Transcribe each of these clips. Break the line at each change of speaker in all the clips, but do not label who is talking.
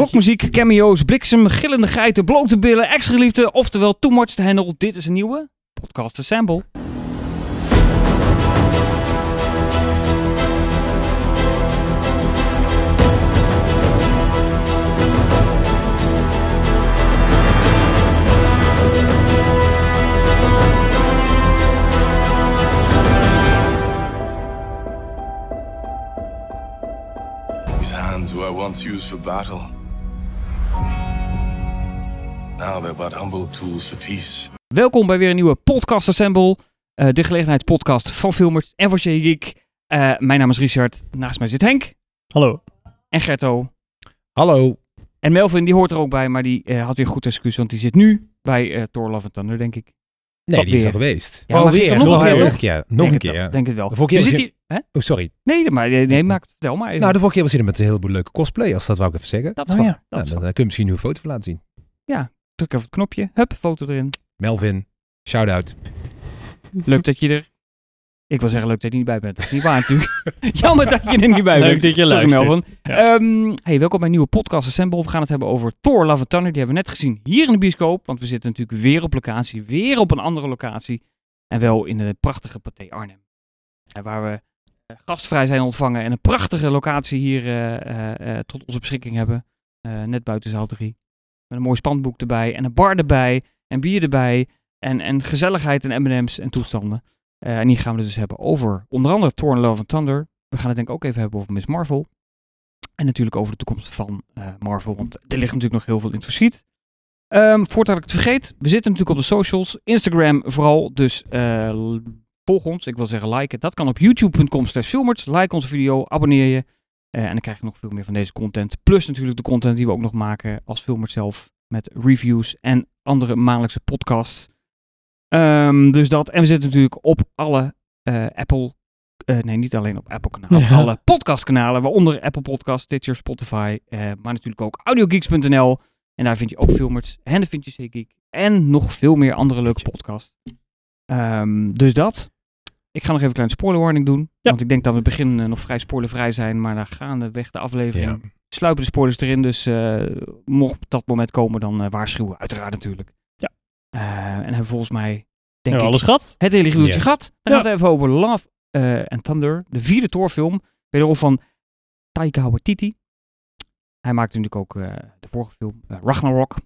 Rockmuziek, cameo's, bliksem, gillende geiten, blote billen, ex-geliefde, oftewel too much to handle. Dit is een nieuwe podcast sample.
These hands were once used for battle. Now they're but humble tools for peace.
Welkom bij weer een nieuwe podcast assemble. eh, de gelegenheidspodcast van filmers en voor Shea Geek. Eh, mijn naam is Richard, naast mij zit Henk
Hallo.
en Gerto.
Hallo.
En Melvin, die hoort er ook bij, maar die eh, had weer een goed excuus, want die zit nu bij eh Thor Love and Thunder, denk ik.
Nee, die is
Alweer.
al geweest.
Ja, maar ging er nog een keer,
Nog
toch?
een keer. Nog
Denk
een
het
keer.
wel,
ja.
Denk het wel.
De vorige keer
Dus
was
zit hij- hè?
Oh, sorry.
Nee, maar, eh, nee, maar vertel maar even.
Nou, de vorige keer was hij er met een heleboel leuke cosplayers. Dat wou ik even zeggen.
dat is
Oh
waar,
ja.
dat
Nou,
is
dan
waar.
eh, kun je misschien nu een foto van laten zien.
Druk even het knopje. Hup, foto erin.
Melvin, shout-out.
Leuk dat je er. Ik wil zeggen, leuk dat je niet bij bent. Dat is niet waar natuurlijk. Jammer dat je er niet bij bent.
Leuk dat je
Sorry,
luistert.
Melvin.
Ja.
Ehm, hey, welkom bij een nieuwe podcast Assemble. We gaan het hebben over Thor Love and Thunder. Die hebben we net gezien hier in de bioscoop. Want we zitten natuurlijk weer op locatie. Weer op een andere locatie. En wel in de prachtige Pathé Arnhem. Eh, waar we eh, gastvrij zijn ontvangen. En een prachtige locatie hier eh, eh, eh, tot onze beschikking hebben. Eh, net buiten zaal 3. Met een mooi spandoek erbij. En een bar erbij. En bier erbij. En, en gezelligheid en M&M's en toestanden. Eh, en hier gaan we het dus hebben over onder andere Thor Love and Thunder. We gaan het denk ik ook even hebben over Miss Marvel. En natuurlijk over de toekomst van eh, Marvel, want er ligt natuurlijk nog heel veel in het verschiet. Ehm voordat ik het vergeet, we zitten natuurlijk op de socials. Instagram vooral, dus eh, l- volg ons. Ik wil zeggen liken. Dat kan op youtube.com slash filmers. Like onze video, abonneer je. Eh, en dan krijg je nog veel meer van deze content. Plus natuurlijk de content die we ook nog maken als filmers zelf. Met reviews en andere maandelijkse podcasts. Ehm, dus dat. En we zitten natuurlijk op alle eh, Apple... eh, nee, niet alleen op Apple-kanalen.
Ja.
Alle podcastkanalen, waaronder Apple Podcast, Stitcher, Spotify. eh, maar natuurlijk ook audiogeeks.nl. En daar vind je ook filmers. En daar vind je Zeegeek. En nog veel meer andere leuke podcasts. Ehm, dus dat. Ik ga nog even een kleine spoiler warning doen. Want ik denk dat we in het begin eh, nog vrij spoilervrij zijn. Maar daar gaandeweg de aflevering
Ja.
sluipen de spoilers erin. Dus eh, mocht dat moment komen, dan eh, waarschuwen. Uiteraard natuurlijk.
Ja.
Eh, en hebben we volgens mij, denk
Hebben
ik,
we alles gehad?
het hele gedoetje
Yes.
gehad. Dan
Ja.
gaat het even over Love eh and Thunder. De vierde Thor-film. Wederom van Taika Waititi. Hij maakte natuurlijk ook eh, de vorige film, eh, Ragnarok.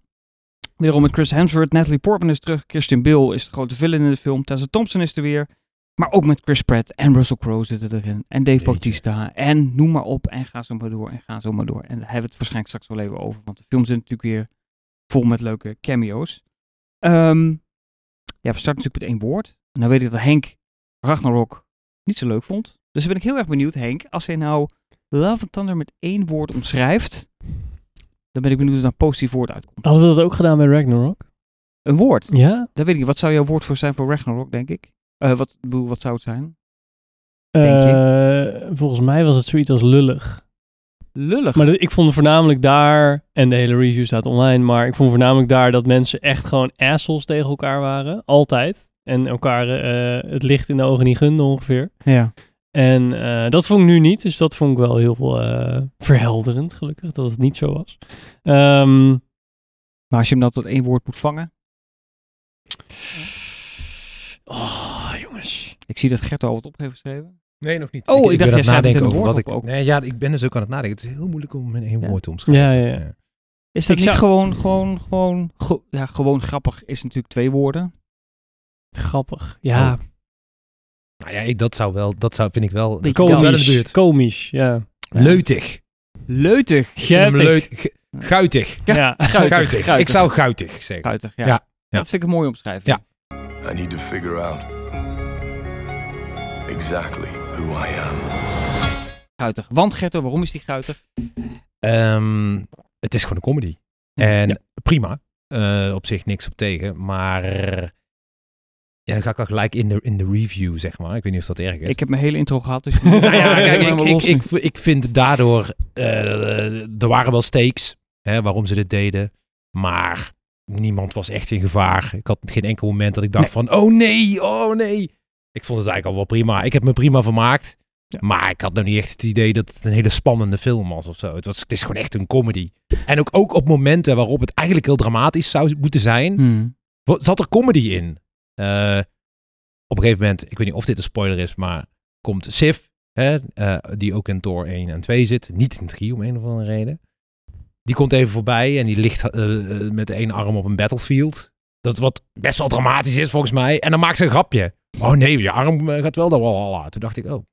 Wederom met Chris Hemsworth. Natalie Portman is terug. Kirsten Bill is de grote villain in de film. Tessa Thompson is er weer. Maar ook met Chris Pratt en Russell Crowe zitten erin. En Dave
Jeetje.
Bautista. En noem maar op. En ga zo maar door. En ga zo maar door. En daar hebben we het waarschijnlijk straks wel even over. Want de film zit natuurlijk weer vol met leuke cameo's. Ehm, ja, we starten natuurlijk met één woord. En dan weet ik dat Henk Ragnarok niet zo leuk vond. Dus dan ben ik heel erg benieuwd, Henk. Als hij nou Love and Thunder met één woord omschrijft, dan ben ik benieuwd of er een positief woord uitkomt.
Hadden we dat ook gedaan bij Ragnarok?
Een woord?
Ja.
Dat weet ik niet. Wat zou jouw woord voor zijn voor Ragnarok, denk ik? Eh, wat, ik bedoel, wat zou het zijn? Denk
Eh, volgens mij was het zoiets als lullig.
Lullig.
Maar dat- ik vond voornamelijk daar, en de hele review staat online, maar ik vond voornamelijk daar dat mensen echt gewoon assholes tegen elkaar waren. Altijd. En elkaar eh, het licht in de ogen niet gunden ongeveer.
ja.
En eh, dat vond ik nu niet, dus dat vond ik wel heel eh, verhelderend gelukkig, dat het niet zo was. Ehm,
maar als je hem dan tot één woord moet vangen.
oh, jongens.
Ik zie dat Gert al wat op heeft geschreven.
Nee, nog niet.
Oh, ik dacht,
ben aan het
jij zei het met
nadenken
een
over wat
woord
ik...
op ook.
Nee, ja, ik ben dus ook aan het nadenken. Het is heel moeilijk om in één
Ja.
woord te omschrijven.
Ja, ja, ja.
Is dat
Ik
niet
zou-
gewoon, gewoon, gewoon... ge- ja, gewoon grappig is natuurlijk twee woorden.
Grappig. Ja,
Nou ja, ik, dat zou wel... Dat zou, vind ik wel...
Beetje
dat komt wel in de
komisch.
buurt.
Komisch, ja.
Ja.
Leutig. Ik
Leutig.
vind hem
Geitig.
leut- ge- Guitig.
Ja.
Ja.
Guitig.
Ik zou guitig zeggen.
Guitig, ja.
Ja, ja.
Dat vind ik een mooie omschrijving.
Ja.
I need to figure out exactly who I am.
Guitig. Want Gerto, waarom is die guitig?
Ehm, het is gewoon een comedy. En
Ja.
prima. Eh, op zich niks op tegen. Maar ja, dan ga ik al gelijk in de, in de review, zeg maar. Ik weet niet of dat erg is.
Ik heb mijn hele intro gehad, dus...
nou ja, kijk,
Maar
ik, ik,
los nu.
ik, v- ik vind daardoor... eh, er waren wel stakes hè, waarom ze dit deden. Maar niemand was echt in gevaar. Ik had geen enkel moment dat ik dacht van... Oh nee, oh nee. Ik vond het eigenlijk al wel prima. Ik heb me prima vermaakt. Maar ik had nou niet echt het idee dat het een hele spannende film was of zo. Het, was, het is gewoon echt een comedy. En ook, ook op momenten waarop het eigenlijk heel dramatisch zou moeten zijn,
Hmm.
wa- zat er comedy in. Eh, op een gegeven moment, ik weet niet of dit een spoiler is, maar komt Sif, hè, eh, die ook in Thor 1 en 2 zit. Niet in 3 om een of andere reden. Die komt even voorbij en die ligt eh, eh, met één arm op een battlefield. Dat wat best wel dramatisch is volgens mij. En dan maakt ze een grapje. Oh nee, je arm eh, gaat wel daar. walala. Toen dacht ik, oh, oké,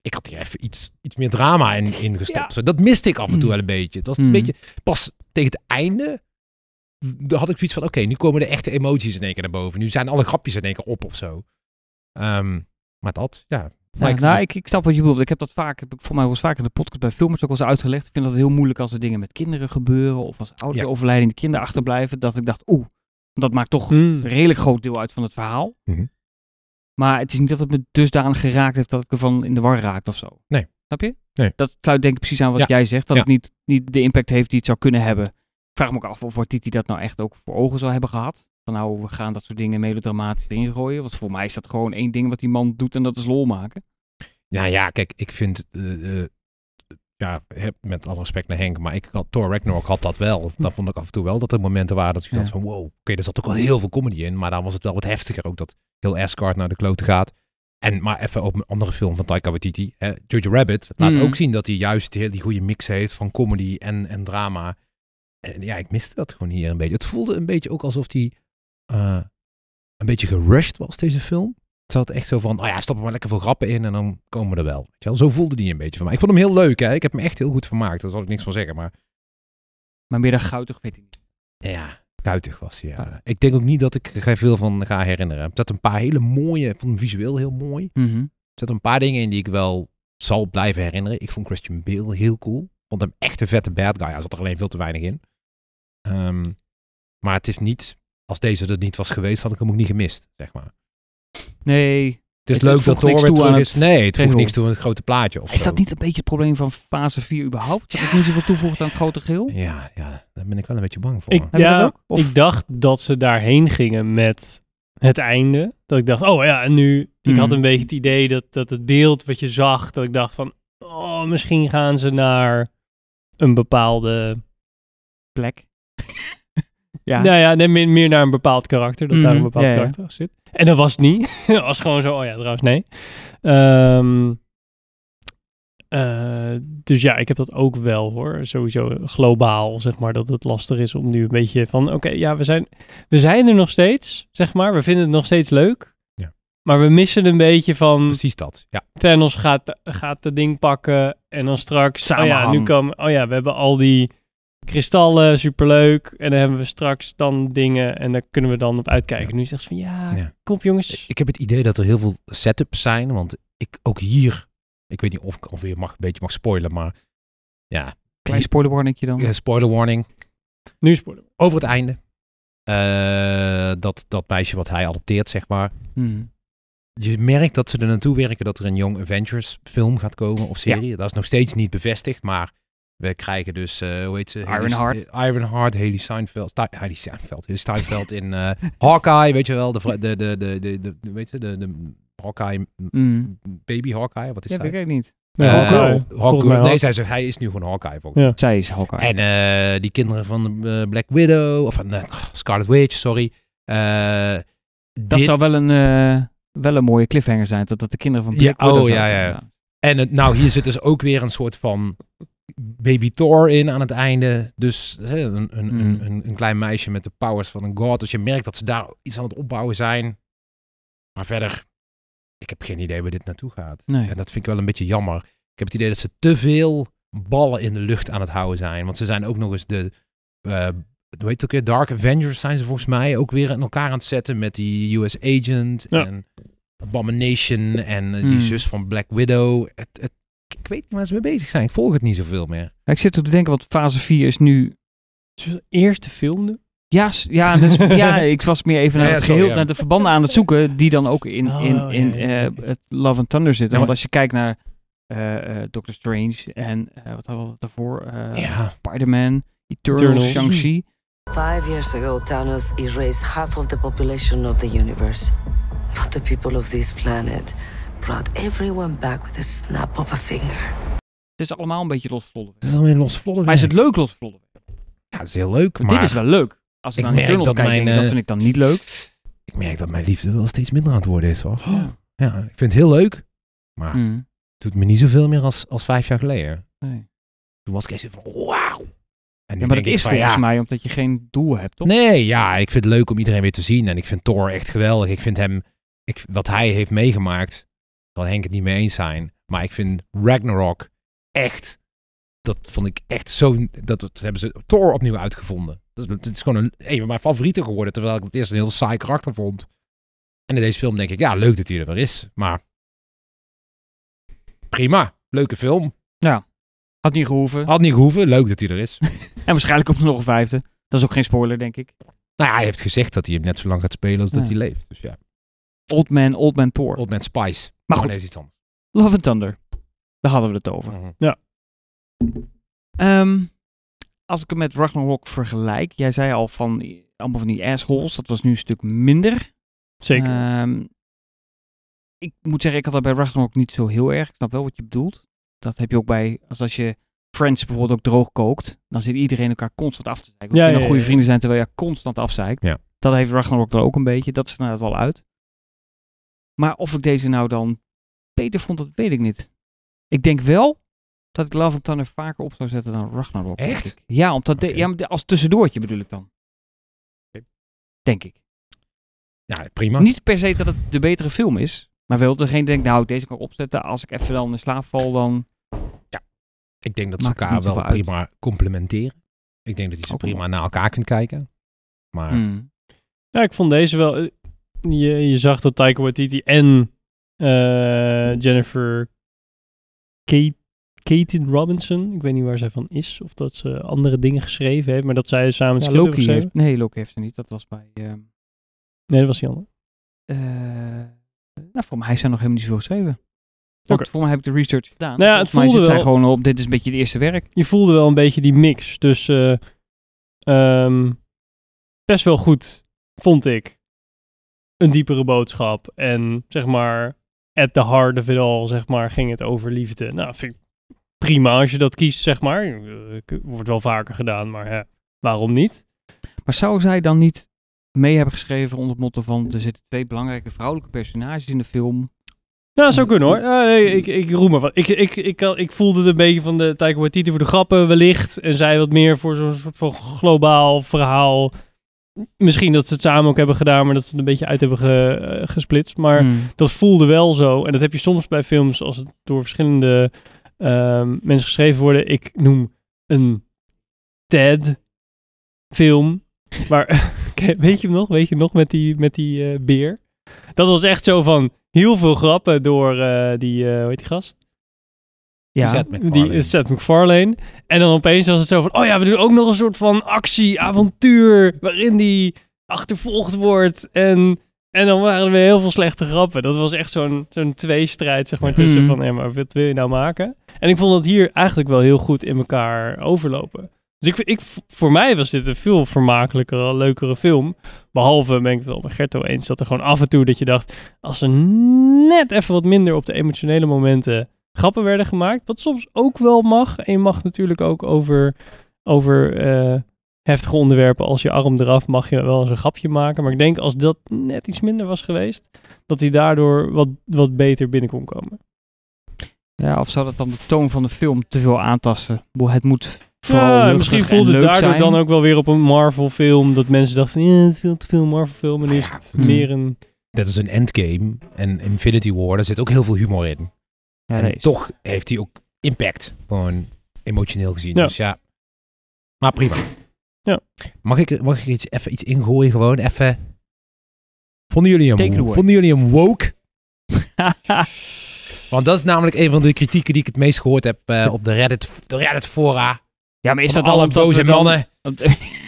ik had hier even iets, iets meer drama in, in gestopt. Dat miste ik af en toe wel een beetje. Het was een
Mm.
beetje, pas tegen het einde dan had ik zoiets van, oké, nu komen de echte emoties in één keer naar boven. Nu zijn alle grapjes in één keer op of zo. Ehm, maar dat, ja.
Ja,
Maar ik-
nou, ik, ik snap wat je bedoelt. Ik heb dat vaak, heb ik voor mij was vaak in de podcast bij filmers ook al eens uitgelegd. Ik vind dat heel moeilijk als er dingen met kinderen gebeuren of als ouders
Ja.
overlijden en de kinderen achterblijven. Dat ik dacht, oeh, dat maakt toch
Mm.
een redelijk groot deel uit van het verhaal.
Mm. Mhm.
Maar het is niet dat het me dusdanig geraakt heeft dat ik ervan in de war raakte of zo.
Nee.
Snap je?
Nee.
Dat sluit denk ik precies aan wat
Ja.
jij zegt. Dat
Ja.
het niet, niet de impact heeft die het zou kunnen hebben. Ik vraag me ook af of Watiti dat nou echt ook voor ogen zou hebben gehad. Van nou, we gaan dat soort dingen melodramatisch erin gooien. Want voor mij is dat gewoon één ding wat die man doet en dat is lol maken.
Nou ja, kijk, ik vind, eh, eh, ja, heb- met alle respect naar Henk, maar ik had, Thor Ragnarok had dat wel. Daar vond ik af en toe wel dat er momenten waren dat ik dacht
Ja.
van, wow, oké, er zat ook wel heel veel comedy in. Maar dan was het wel wat heftiger ook, dat heel Asgard naar de klote gaat. En maar even op een andere film van Taika Waititi, hè, Jojo Rabbit, laat
Mhm.
ook zien dat hij juist die, die goede mix heeft van comedy en, en drama. En ja, ik miste dat gewoon hier een beetje. Het voelde een beetje ook alsof hij eh, een beetje gerushed was, deze film. Het zat echt zo van, nou ja, stop er maar lekker veel grappen in en dan komen we er wel. Weet je wel? Zo voelde die een beetje van mij. Ik vond hem heel leuk, hè. Ik heb hem echt heel goed vermaakt. Daar zal ik niks van zeggen, maar
Maar meer dan guitig weet ik niet.
ja, kuitig was hij. ja. Ik denk ook niet dat ik er veel van ga herinneren. Er zat een paar hele mooie, ik vond hem visueel heel mooi.
Mhm.
Er zaten een paar dingen in die ik wel zal blijven herinneren. Ik vond Christian Bale heel cool. Vond hem echt een vette bad guy. Hij zat er alleen veel te weinig in. Ehm, maar het is niet... Als deze er niet was geweest, had ik hem ook niet gemist, zeg maar.
Nee.
Het is
Het-
leuk
het voegt
dat Thor
niks
weer
toe
terug
aan
is.
het
Nee, het voegt
geheel.
niks toe aan het grote plaatje of
Is
zo.
dat niet een beetje het probleem van fase 4 überhaupt? Dat het niet zoveel toevoegt aan het grote geheel?
Ja, ja, daar ben ik wel een beetje bang voor.
Ik,
we dat
ja,
ook? Of-
ik dacht dat ze daarheen gingen met het einde. Dat ik dacht, oh ja, en nu... Ik
Mm.
had een beetje het idee dat, dat het beeld wat je zag, dat ik dacht van... Oh, misschien gaan ze naar een bepaalde...
Plek. ja.
Nou ja, nee, meer, meer naar een bepaald karakter. Dat
Mhm,
daar een bepaald
ja, ja.
karakter achter zit. En dat was het niet. dat was gewoon zo, oh ja, trouwens, nee. Ehm, eh, dus ja, ik heb dat ook wel hoor. Sowieso globaal, zeg maar, dat het lastig is om nu een beetje van... Oké, ja, we zijn, we zijn er nog steeds, zeg maar. We vinden het nog steeds leuk.
Ja.
Maar we missen een beetje van...
Precies dat, ja.
Thanos gaat, gaat dat ding pakken en dan straks... Oh ja,
Samenhang.
nu komen... Oh ja, we hebben al die kristallen, superleuk. En dan hebben we straks dan dingen en daar kunnen we dan op uitkijken.
Ja.
Nu zegt ze van, ja,
Ja.
kom op jongens.
Ik heb het idee dat er heel veel setups zijn, want ik ook hier... Ik weet niet of ik alweer mag, een beetje mag spoilen, maar... Ja,
Klein spoiler warningje dan.
eh, spoiler warning.
Nu spoelen
over het einde. Eh, dat, dat meisje wat hij adopteert, zeg maar.
Hmm.
Je merkt dat ze er naartoe werken dat er een Young Avengers film gaat komen of serie. Dat is nog steeds niet bevestigd, maar we krijgen dus, eh, hoe heet ze? Haley-
Ironheart.
eh, Ironheart, Haley Steinfeld. Stein- Haley Steinfeld. Haley Steinfeld in eh, Hawkeye, weet je wel. De, vra- de, de, de, de, de, weet je, de, de Hawkeye,
Hmm.
baby Hawkeye, wat is
Ja,
zij?
weet ik niet.
we.
Eh,
Hawkeye.
Volgens mij
Hawkeye. Nee,
Hawk-
zij zegt, hij is nu gewoon Hawkeye volgens
Zij is Hawkeye.
en eh, die kinderen van eh, Black Widow, of van eh, Scarlet Witch, sorry. Eh,
dat
dit-
zou wel een, eh, wel een mooie cliffhanger zijn. Dat, dat de kinderen van
Ja,
Black Widow
oh, ja,
zouden
ja,
zijn.
En het, nou, hier zit dus ook weer een soort van baby Thor in aan het einde. Dus hè, een, een,
Mm.
een, een, een klein meisje met de powers van een god. Dus je merkt dat ze daar iets aan het opbouwen zijn. Maar verder, ik heb geen idee waar dit naartoe gaat.
Nee.
En dat vind ik wel een beetje jammer. Ik heb het idee dat ze te veel ballen in de lucht aan het houden zijn. Want ze zijn ook nog eens de. eh hoe heet het ook weer? Dark Avengers zijn ze volgens mij ook weer in elkaar aan het zetten met die US Agent
Ja.
en Abomination en eh, die
Hmm.
zus van Black Widow. Het, het, ik weet niet waar ze mee bezig zijn. Ik volg het niet zoveel meer.
Ik zit te denken, want fase 4 is nu...
Dus eerste film nu?
Ja, s- ja, dat is- ja ik was meer even naar
Ja, ja,
het
sorry,
geheel,
ja.
naar de verbanden aan het zoeken die dan ook in,
Oh,
in, in
ja, ja, ja.
eh, het Love and Thunder zitten. want
Ja, maar-
als je kijkt naar eh, eh, Doctor Strange en eh, wat hadden we daarvoor? Eh,
ja.
Spider-Man, Eternal,
Eternals.
Shang-Chi.
Five years ago, Thanos erased half of the population of the universe. But the people of this planet brought everyone back with a snap of a finger.
Het is allemaal een beetje losvlodden.
Het is alweer los vlodder.
Maar is het leuk losvlodden?
Ja, het is heel leuk,
Want
maar
dit is wel leuk. Als ik
Ik
naar de
merk
tunnels
dat
kijk, denk ik,
mijn,
dat
eh,
vind ik dan niet leuk.
ik merk dat mijn liefde wel steeds minder aan het worden is, hoor.
Ja.
Ja, ik vind het heel leuk, maar het
Mm.
doet me niet zoveel meer als, als vijf jaar geleden.
Nee.
Toen was ik eens van, wauw. En nu
Ja, maar
denk
dat
ik
is
van,
volgens
ja,
mij omdat je geen doel hebt, toch?
Nee, ja, ik vind het leuk om iedereen weer te zien. En ik vind Thor echt geweldig. Ik vind hem, ik, wat hij heeft meegemaakt, zal Henk het niet mee eens zijn. Maar ik vind Ragnarok echt, dat vond ik echt zo, dat, dat hebben ze Thor opnieuw uitgevonden. Dus het is gewoon een, een van mijn favorieten geworden, terwijl ik het eerst een heel saai karakter vond. En in deze film denk ik, ja, leuk dat hij er weer is. Maar prima, leuke film.
Had niet gehoeven.
Had niet gehoeven, leuk dat hij er is.
En waarschijnlijk komt er nog een vijfde. Dat is ook geen spoiler, denk ik.
nou ja, hij heeft gezegd dat hij hem net zo lang gaat spelen als dat
Ja.
hij leeft. Dus ja,
Old Man, Old Man Thor.
op met Spice.
maar
Oh,
goed,
nee, is iets anders. Mhm.
Love and Thunder. Daar hadden we het over. Ehm, als ik hem met Ragnarok vergelijk, jij zei al van die- allemaal van die assholes, dat was nu een stuk minder.
Zeker.
Ehm, ik moet zeggen, ik had dat bij Ragnarok niet zo heel erg. Ik snap wel wat je bedoelt. Dat heb je ook bij, als, als je Friends bijvoorbeeld ook droog kookt, dan zit iedereen elkaar constant af te zeiken.
Ja,
Ja,
ja, ja,
goede
ja.
vrienden zijn terwijl je constant afzeikt.
Ja.
Dat heeft Ragnarok er ook een beetje. Dat is er inderdaad wel uit. Maar of ik deze nou dan beter vond, dat weet ik niet. Ik denk wel dat ik Love and Thunder vaker op zou zetten dan Ragnarok. denk
Echt?
ik. Ja, omdat de-
Oké.
ja, maar de- als tussendoortje bedoel ik dan.
Oké.
Denk ik.
Ja, prima.
Niet per se dat het de betere film is. Maar wel dat degene denkt, nou, deze kan ik opzetten. Als ik even dan in slaap val, dan...
ik denk dat ze
maakt het
elkaar
niet
wel
zoveel uit.
prima complementeren. Ik denk dat je ze
Ook wel.
prima naar elkaar kunt kijken. Maar
Hmm.
Ja, ik vond deze wel. eh, Je, je zag dat Taika Waititi en eh, Jennifer Kate, Katin Robinson, ik weet niet waar zij van is, of dat ze andere dingen geschreven heeft, maar dat zij samen het
Ja,
script hebben
Loki
geschreven.
heeft... Nee, Loki heeft er niet. Dat was bij... ehm
Nee, dat was die andere.
eh, nou, voor mij heeft zij nog helemaal niet zoveel geschreven. Want
Oké.
voor mij heb ik de research gedaan.
Nou ja, het
Volgens mij
voelde
zit zij
wel-
gewoon op, dit is een beetje het eerste werk.
Je voelde wel een beetje die mix tussen eh, ehm, best wel goed, vond ik, een diepere boodschap en zeg maar at the heart of it all, zeg maar, ging het over liefde. Nou, vind ik prima als je dat kiest, zeg maar. Eh, k- Wordt wel vaker gedaan, maar hè, waarom niet?
Maar zou zij dan niet mee hebben geschreven onder het motto van... er zitten twee belangrijke vrouwelijke personages in de film.
Nou, zou kunnen hoor. Ah, nee, ik, ik roem maar wat. Ik, ik, ik, ik, ik voelde het een beetje van de Taika Waititi voor de grappen wellicht. En zij wat meer voor zo'n soort van globaal verhaal. Misschien dat ze het samen ook hebben gedaan, maar dat ze het een beetje uit hebben ge- eh, gesplitst. Maar
Hmm.
dat voelde wel zo. En dat heb je soms bij films als het door verschillende ehm, mensen geschreven worden. Ik noem een TED-film. Maar Ken- weet je hem nog? Weet je hem nog met die, met die eh, beer? Dat was echt zo van heel veel grappen door eh, die, eh, hoe heet die gast?
Ja.
Seth
Die
MacFarlane.
is Seth MacFarlane. En dan opeens was het zo van, oh ja, we doen ook nog een soort van actie, avontuur, waarin die achtervolgd wordt. En, en dan waren er weer heel veel slechte grappen. Dat was echt zo'n zo'n tweestrijd, zeg maar, tussen
Mhm.
van, hé, maar wat wil je nou maken? En ik vond dat hier eigenlijk wel heel goed in elkaar overlopen. Dus ik, vind- ik, voor mij was dit een veel vermakelijkere, leukere film. Behalve, ben ik het wel met Gerto eens, dat er gewoon af en toe dat je dacht... als er net even wat minder op de emotionele momenten grappen werden gemaakt. Wat soms ook wel mag. En je mag natuurlijk ook over, over eh, heftige onderwerpen als je arm eraf mag je wel eens een grapje maken. Maar ik denk als dat net iets minder was geweest, dat hij daardoor wat, wat beter binnen kon komen.
Ja, of zou dat dan de toon van de film te veel aantasten? Ik bedoel, Het moet vooral
Ja,
luchtig
misschien
en
voelde het
leuk
daardoor
zijn.
dan ook wel weer op een Marvel film dat mensen dachten, eh, het is veel te veel Marvel film. En nu is
Ja,
het
mm.
meer een...
Dat is een endgame. En Infinity War, daar zit ook heel veel humor in.
Ja,
en
nee,
toch heeft hij ook impact. Gewoon emotioneel gezien.
Ja.
Dus ja. Maar prima.
Ja.
Mag ik, er- mag ik er iets, even iets ingooien? Gewoon even. Vonden jullie
Take it
hem,
away.
vonden jullie hem woke? Want dat is namelijk een van de kritieken die ik het meest gehoord heb eh, op de Reddit, de Reddit fora.
ja, maar is
Van
dat al
alle
een
boze mannen?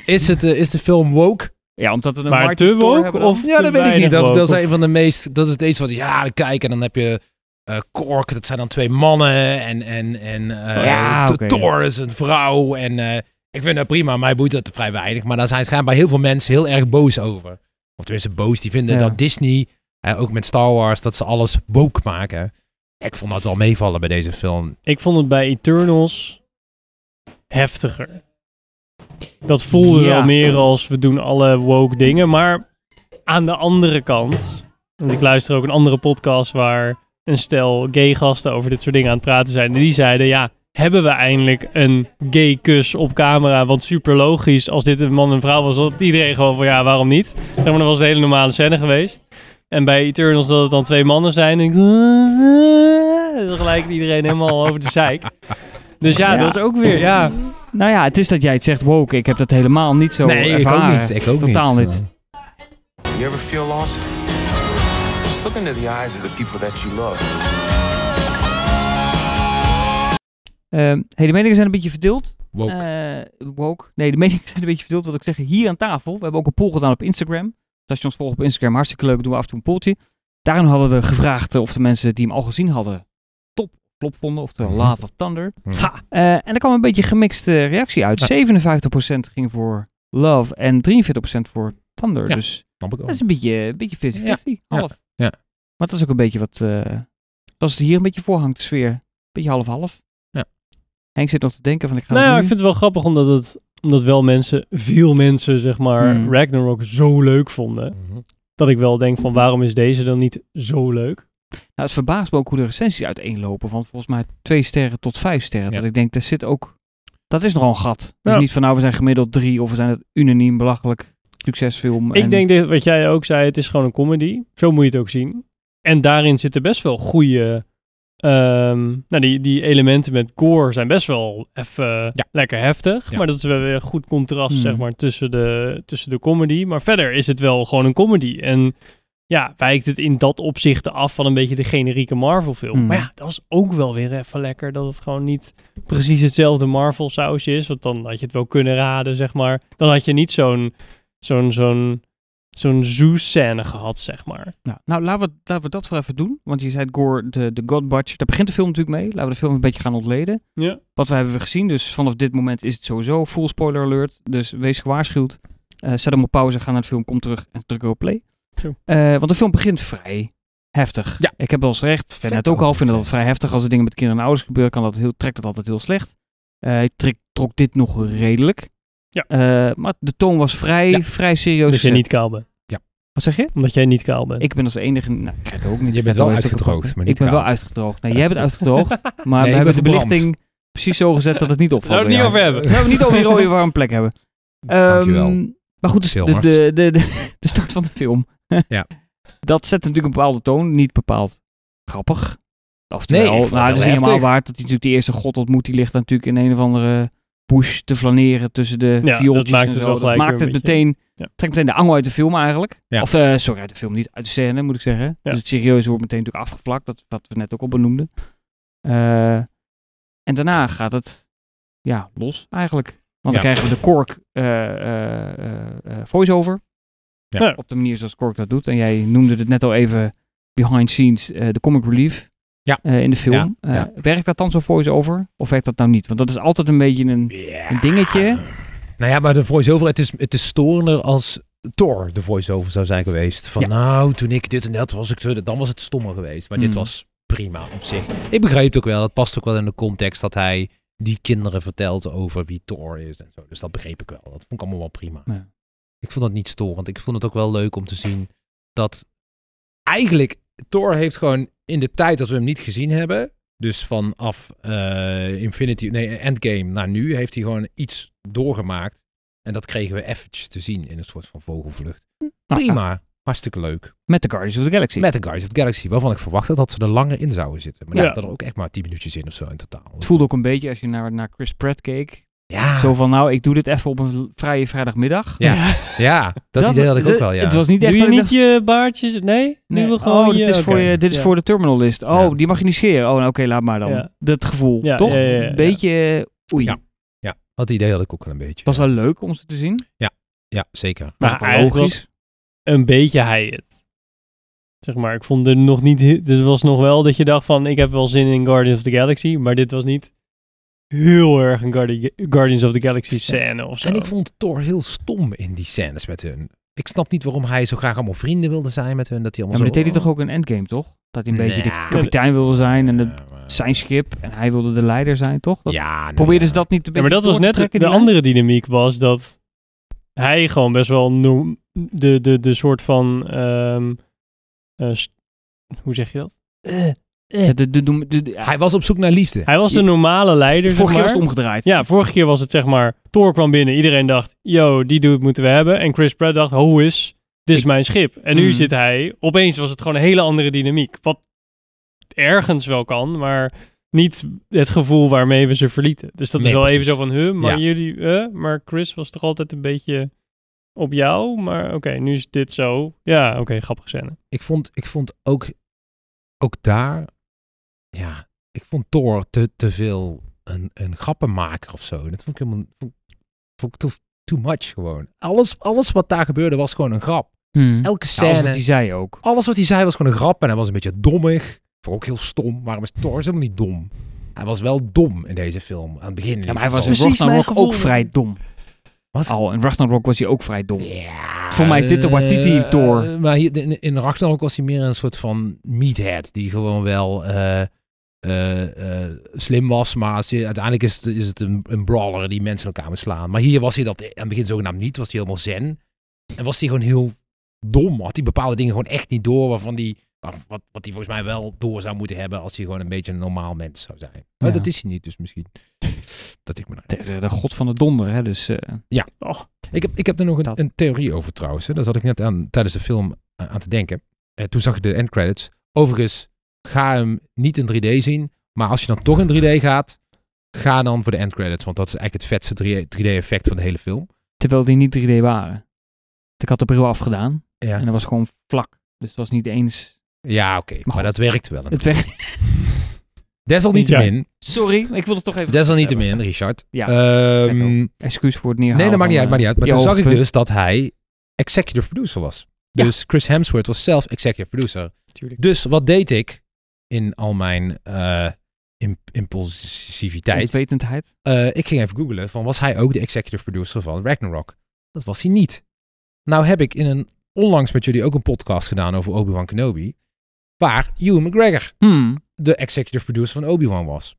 Is, het, eh, is de film woke?
ja, omdat het een
Maar te
marketing tour
woke
hebben dan?
of
Ja,
te
dat weet ik
weinig
niet. Dat,
woke?
dat is
Of-
een van de meest. Dat is het eens wat. Ja, kijk, en dan heb je. eh Kork, dat zijn dan twee mannen. En. en, en eh
Ja,
T-
oké, ja.
Thor is een vrouw. En. eh, ik vind dat prima. Mij boeit dat vrij weinig. Maar daar zijn schijnbaar heel veel mensen heel erg boos over. Of tenminste, boos. Die vinden
Ja.
dat Disney. Eh, ook met Star Wars, dat ze alles woke maken. Ik vond dat wel meevallen bij deze film.
Ik vond het bij Eternals heftiger. Dat voelde
Ja.
wel meer als we doen alle woke dingen. Maar aan de andere kant, want ik luister ook een andere podcast waar een stel gay gasten over dit soort dingen aan het praten zijn. En die zeiden, ja, hebben we eindelijk een gay kus op camera? Want super logisch, als dit een man en vrouw was, had iedereen gewoon van ja, waarom niet? Zeg maar, dat was een hele normale scène geweest. En bij Eternals dat het dan twee mannen zijn, denk ik... Dus gelijk iedereen helemaal over de zeik. Dus ja,
Ja.
dat is ook weer, ja...
Nou ja, het is dat jij het zegt woke. Ik heb dat helemaal niet zo
nee, ik ook
ervaren.
niet. Ik ook
Totaal
niet. eh.
niet.
You ever feel lost? Just look into the eyes of the people that you love.
Ehm, hey, de meningen zijn een beetje verdeeld.
Woke.
Eh, woke. Nee, de meningen zijn een beetje verdeeld. Wat ik zeg, hier aan tafel. We hebben ook een poll gedaan op Instagram. Dus als je ons volgt op Instagram, hartstikke leuk. Doen we af en toe een polltje. Daarin hadden we gevraagd eh, of de mensen die hem al gezien hadden top klop vonden. Oftewel
Mhm.
Lava Thunder.
Mhm.
Ha! Eh, en er kwam een beetje gemixte reactie uit.
Ja.
57% ging voor Love en 43% voor Thunder.
Ja.
Dus
Snap ik ook.
dat is een beetje een beetje 50-50.
Ja.
Half.
Ja.
Maar dat is ook een beetje wat... eh dat is het hier een beetje voor hangt, de sfeer. Beetje half-half.
Ja.
Henk zit nog te denken van ik ga
Nou
het
ja, ik
nu-
vind het wel grappig omdat het... Omdat wel mensen, veel mensen zeg maar,
Hmm.
Ragnarok zo leuk vonden.
Mhm.
Dat ik wel denk van waarom is deze dan niet zo leuk?
Nou, het verbaast me ook hoe de recensies uiteenlopen. Van volgens mij twee sterren tot vijf sterren.
Ja.
Dat ik denk, daar zit ook... Dat is nogal een gat. Het is
Ja.
niet van nou, we zijn gemiddeld drie of we zijn het unaniem belachelijk succesfilm. en-
Ik denk dat wat jij ook zei, het is gewoon een comedy. Zo moet je het ook zien. En daarin zitten best wel goede... ehm, nou, die, die elementen met gore zijn best wel even lekker heftig.
Ja. Mm.
Maar dat is wel weer een goed contrast,
Hmm.
zeg maar, tussen de, tussen de comedy. Maar verder is het wel gewoon een comedy. En ja, wijkt het in dat opzicht af van een beetje de generieke Marvel-film.
Hmm.
Maar ja, dat is ook wel weer even lekker dat het gewoon niet precies hetzelfde Marvel-sausje is. Want dan had je het wel kunnen raden, zeg maar. Dan had je niet zo'n zo'n zo'n zo'n zoo-scène gehad, zeg maar.
Nou, nou, laten, we, laten we dat voor even doen. Want je zei het, Gore, de, de God Butcher. Daar begint de film natuurlijk mee. Laten we de film een beetje gaan ontleden.
Ja.
Wat we hebben we gezien. Dus vanaf dit moment is het sowieso full spoiler alert. Dus wees gewaarschuwd. Eh, zet hem op pauze, ga naar de film, kom terug en druk weer op play.
Zo.
Eh, want de film begint vrij heftig.
Ja.
Ik heb wel eens recht. Ik
Vet
ben het ook al,
ook,
vinden dat het
zeg.
vrij heftig. Als er dingen met kinderen en ouders gebeuren, kan dat heel, trekt dat altijd heel slecht. Eh, ik trek, trok dit nog redelijk.
Ja.
Eh, maar de toon was vrij,
Ja.
vrij serieus.
Omdat jij
gezet.
niet kaal bent.
Wat zeg je?
Omdat jij niet kaal bent.
Ik ben als enige. Nou, ik ook niet. Gerdo
Je bent wel
heeft ook
uitgedroogd,
getrokken.
maar niet
Ik ben
koud.
wel uitgedroogd. Nee, jij bent uitgedroogd. Maar
Nee,
we
ik
hebben de
ben verbrand.
belichting precies zo gezet dat het niet opvalt. bij jou.
hebben.
Nou, We hebben niet over die rode warme plek hebben.
Dankjewel.
Ehm, Maar goed, dus de, de,
Silmars.
de, de, de start van de film.
Ja.
Dat zet natuurlijk een bepaalde toon. Niet bepaald grappig. Oftewel,
Nee, ik vond
nou,
het
dat is
heel
helemaal
heftig.
waard. Dat hij natuurlijk de eerste god ontmoet. Die ligt natuurlijk in een of andere bush te flaneren tussen de
Ja, dat
viooltjes
maakt
en
het
zo.
wel gelijk
maakt
weer
het
een beetje-
meteen,
Ja.
trekt meteen de angel uit de film eigenlijk.
Ja.
Of, eh, sorry, uit de film niet. Uit de scène moet ik zeggen.
Ja.
Dus het serieuze wordt meteen natuurlijk afgevlakt. Dat, wat we net ook al benoemden. Eh, en daarna gaat het ja, los eigenlijk. Want
Ja.
dan krijgen we de Kork eh, eh, eh, eh, voice-over.
Ja.
Ja.
Op de manier zoals Kork dat doet. En jij noemde het net al even behind scenes, eh, de comic relief
Ja.
eh, in de film.
Ja, ja.
Eh, werkt dat dan zo'n voice-over? Of werkt dat nou niet? Want dat is altijd een beetje een, een dingetje.
Nou ja, maar de voice-over, het is, het is storender als Thor de voice-over zou zijn geweest. Van
Ja.
nou, toen ik dit en dat was, ik, zo- dan was het stommer geweest. Maar dit
Hmm.
was prima op zich. Ik begrijp het ook wel, dat past ook wel in de context dat hij die kinderen vertelt over wie Thor is en zo. Dus dat begreep ik wel. Dat vond ik allemaal wel prima.
Ja.
Ik vond het niet storend. Ik vond het ook wel leuk om te zien dat eigenlijk Thor heeft gewoon in de tijd dat we hem niet gezien hebben, dus vanaf eh, Infinity, nee, Endgame naar nu, heeft hij gewoon iets doorgemaakt. En dat kregen we eventjes te zien in een soort van vogelvlucht.
Nou, nou,
Prima. Hartstikke leuk.
met de Guardians of the Galaxy.
Met de Guardians of the Galaxy, waarvan ik verwachtte dat ze er langer in zouden zitten. Maar die
Ja.
zaten er ook echt maar 10 minuutjes in of zo in totaal.
het voelde ook een beetje als je naar, naar Chris Pratt keek.
Ja,
Zo van, nou, ik doe dit even op een l- vrije vrijdagmiddag.
Ah. Ja, ja dat, idee had ik ook wel, ja.
Het was niet echt
Doe je
dat ik
niet je baardjes? Nee?
Nee.
Nu we gewoon
oh, dit
je-
is, voor,
oké.
je, dit is
Ja.
voor de terminal list. Oh,
Ja.
die mag je niet scheren. Oh, nou, oké, laat maar dan.
Ja.
Dat gevoel,
Ja,
toch?
ja, ja, ja.
Een beetje, eh, oei.
Ja.
Het
Ja, dat idee had ik ook wel een beetje.
was wel leuk om ze te zien.
Ja, zeker.
Was
Maar
ook wel
eigenlijk was-
logisch.
een beetje Hyatt. Zeg maar, ik vond er nog niet... he- Dit was nog wel dat je dacht van, ik heb wel zin in Guardians of the Galaxy. Maar dit was niet heel erg een Guardi- Guardians of the Galaxy scène of zo.
En ik vond Thor heel stom in die scènes met hun. ik snap niet waarom hij zo graag allemaal vrienden wilde zijn met hun. Dat hij
Ja,
allemaal
maar dit
zo,
deed hij toch ook in Endgame, toch? Dat hij een beetje de
Ja.
kapitein wilde zijn en de,
Ja, maar-
zijn schip. En hij wilde de leider zijn, toch? Dat,
ja, nou
probeerden
ja.
ze dat niet te
Ja, maar dat was net de, de andere dynamiek was dat hij gewoon best wel noem, de, de, de soort van ehm, eh, st- hoe zeg je dat?
de, de, de, de- ja,
Hij was op zoek naar liefde.
Hij was de normale leider.
vorige keer
zeg
was het
maar.
omgedraaid.
Ja, vorige keer was het zeg maar Thor kwam binnen, iedereen dacht, yo, die dude moeten we hebben. En Chris Pratt dacht, hoe is dit is mijn schip. En nu
Mm.
zit hij. Opeens was het gewoon een hele andere dynamiek. Wat ergens wel kan, maar niet het gevoel waarmee we ze verlieten. Dus dat
Nee,
is wel even
precies.
zo van, huh, maar
Ja.
jullie, huh? maar Chris was toch altijd een beetje op jou? Maar oké, nu is dit zo. Ja, oké, grappig scène.
Ik vond, ik vond ook, ook daar, ja, ik vond Thor te, te veel een, een grappenmaker of zo. Dat vond ik helemaal, vond, vond ik too, too much gewoon. Alles, alles wat daar gebeurde was gewoon een grap.
Hmm.
Elke
Ja,
scène,
als wat hij zei ook.
alles wat hij zei was gewoon een grap en hij was een beetje dommig. Vond ik ook heel stom. Waarom is Thor helemaal niet dom? Hij was wel dom in deze film. Aan het begin.
Ja, maar hij was in
Precies mijn
Ragnarok
gevoel.
ook vrij dom.
Wat?
Al, in Oh, Ragnarok was hij ook vrij dom.
Ja,
Voor mij is dit de Waititi
eh,
Thor.
eh, maar hier, in, in Ragnarok was hij meer een soort van meathead. Die gewoon wel eh, eh, eh, slim was. Maar als je, uiteindelijk is het, is het een, een brawler die mensen in elkaar moet slaan. Maar hier was hij dat aan het begin zogenaamd niet. Was hij helemaal zen. En was hij gewoon heel dom. Had hij bepaalde dingen gewoon echt niet door. Waarvan die, waar- wat, wat hij volgens mij wel door zou moeten hebben. Als hij gewoon een beetje een normaal mens zou zijn. Maar
Ja.
dat is hij niet. Dus misschien dat ik me daar-
De, de- de god van de donder, hè. Dus, eh,
ik heb, ik heb er nog een,
Dat-
een theorie over trouwens. Hè. Daar zat ik net aan tijdens de film eh, aan te denken. Eh, toen zag ik de endcredits. Overigens, ga hem niet in 3D zien. Maar als je dan toch in 3D gaat, ga dan voor de endcredits. Want dat is eigenlijk het vetste 3D-effect van de hele film.
terwijl die niet 3D waren. Ik had de bril afgedaan
Ja,
en dat was gewoon vlak. Dus het was niet eens...
ja oké. Maar,
goed.
dat werkt wel.
Het weg...
Desalniettemin,
Sorry, ik wil het toch even...
desalniettemin, Richard.
Ja,
Ehm,
net Excuus voor het neerhalen.
nee, dat maakt niet uit,
van, eh,
maakt niet uit. Maar
je
toen zag ik
hoogtepunt.
dus dat hij executive producer was.
Ja.
Dus Chris Hemsworth was zelf executive producer.
Tuurlijk.
Dus wat deed ik in al mijn eh, imp- impulsiviteit?
Onwetendheid.
Eh, ik ging even googlen van was hij ook de executive producer van Ragnarok? Dat was hij niet. Nou heb ik in een onlangs met jullie ook een podcast gedaan over Obi-Wan Kenobi, waar Ewan McGregor
Hmm.
de executive producer van Obi-Wan was.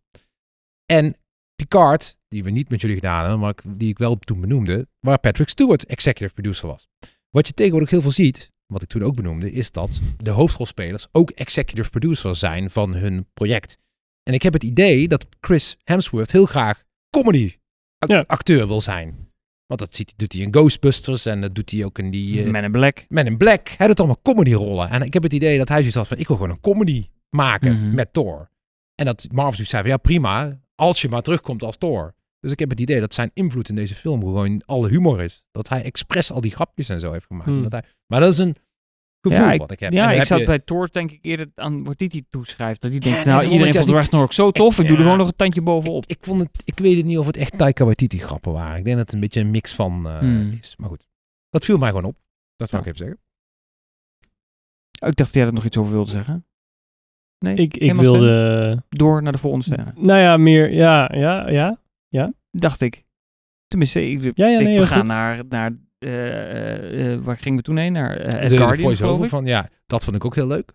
En Picard, die we niet met jullie gedaan hebben, maar ik- die ik wel toen benoemde, waar Patrick Stewart executive producer was. Wat je tegenwoordig heel veel ziet, wat ik toen ook benoemde, is dat de hoofdrolspelers ook executive producer zijn van hun project. En ik heb het idee dat Chris Hemsworth heel graag comedy ac-
Ja.
acteur wil zijn. Want dat ziet, doet hij in Ghostbusters en dat doet hij ook in die... eh,
Man in Black.
Men in Black. Hij doet allemaal comedy rollen. En ik heb het idee dat hij zoiets had van, ik wil gewoon een comedy maken
Mhm.
met Thor. En dat Marvel zoiets zei van, ja prima, als je maar terugkomt als Thor. Dus ik heb het idee dat zijn invloed in deze film gewoon alle humor is. Dat hij expres al die grapjes en zo heeft gemaakt.
Hmm.
Dat hij, maar dat is een gevoel
Ja, ik-
wat ik heb. En
Ja,
dan
ik
heb
zou
je-
het bij Thor denk ik eerder aan Watiti toeschrijft. Dat die denkt,
Ja, nee,
nou
daarom,
iedereen
want
vond
ja,
Ragnarok zo tof, ik doe er
ja.
gewoon nog een tandje bovenop.
ik, vond het, ik weet het niet of het echt Taika Waititi grappen waren. Ik denk dat het een beetje een mix van eh,
Hmm.
is. Maar goed, dat viel mij gewoon op. Dat wou
Ja.
ik even zeggen.
Oh, ik dacht dat jij er nog iets over wilde zeggen. Nee,
Dus Ik, ik
helemaal Sven?
wilde.
Door naar de volgende scène.
Nou ja, meer. Ja, ja, ja.
Dacht ik. Tenminste, ik,
Ja, ja,
ik-
nee,
we
heel
gaan
goed.
naar, naar eh, eh, waar gingen we toen heen? Naar eh
De- de
Asgardian,
voice-over
geloof ik.
van, ja, dat vond ik ook heel leuk.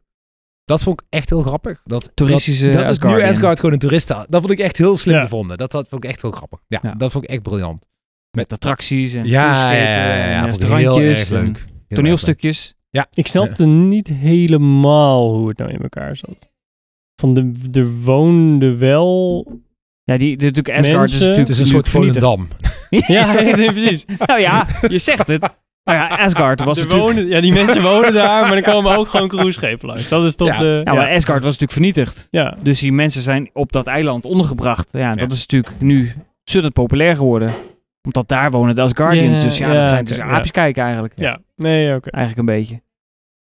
Dat vond ik echt heel grappig. Dat, dat-
Toeristische
dat is nu
Asgardian.
Asgard gewoon een toeristen. Dat vond ik echt heel slim
Ja.
gevonden. Dat, dat vond ik echt heel grappig. Ja,
Ja.
dat vond ik echt briljant.
Met attracties en
Ja, ja,
cruiseschepen
ja, ja,
en
ja, vond ik heel
eh, restaurantjes.
erg leuk.
en
Heel erg leuk.
Toneelstukjes.
Ik snapte niet helemaal hoe het nou in elkaar zat. Van de, de woonde wel.
Ja, die, die, natuurlijk Asgard dus is
Mensen.
natuurlijk
Het is een soort
natuurlijk vernietigd.
Volendam.
Ja, nee, precies.
Nou ja, je zegt het. Nou ja, Asgard was
Er
natuurlijk...
wonen, ja, die mensen wonen daar, maar er komen ook gewoon cruiseschepen langs. Dat is toch
Ja.
de...
Ja, maar Asgard was natuurlijk vernietigd.
ja.
Dus die mensen zijn op dat eiland ondergebracht. Ja, en
Ja.
dat is natuurlijk nu ontzettend populair geworden. Omdat daar wonen de Asgardians.
Ja,
dus ja,
ja,
dat zijn
oké,
dus
ja.
aapjes kijken eigenlijk.
Ja. nee, oké.
Eigenlijk een beetje.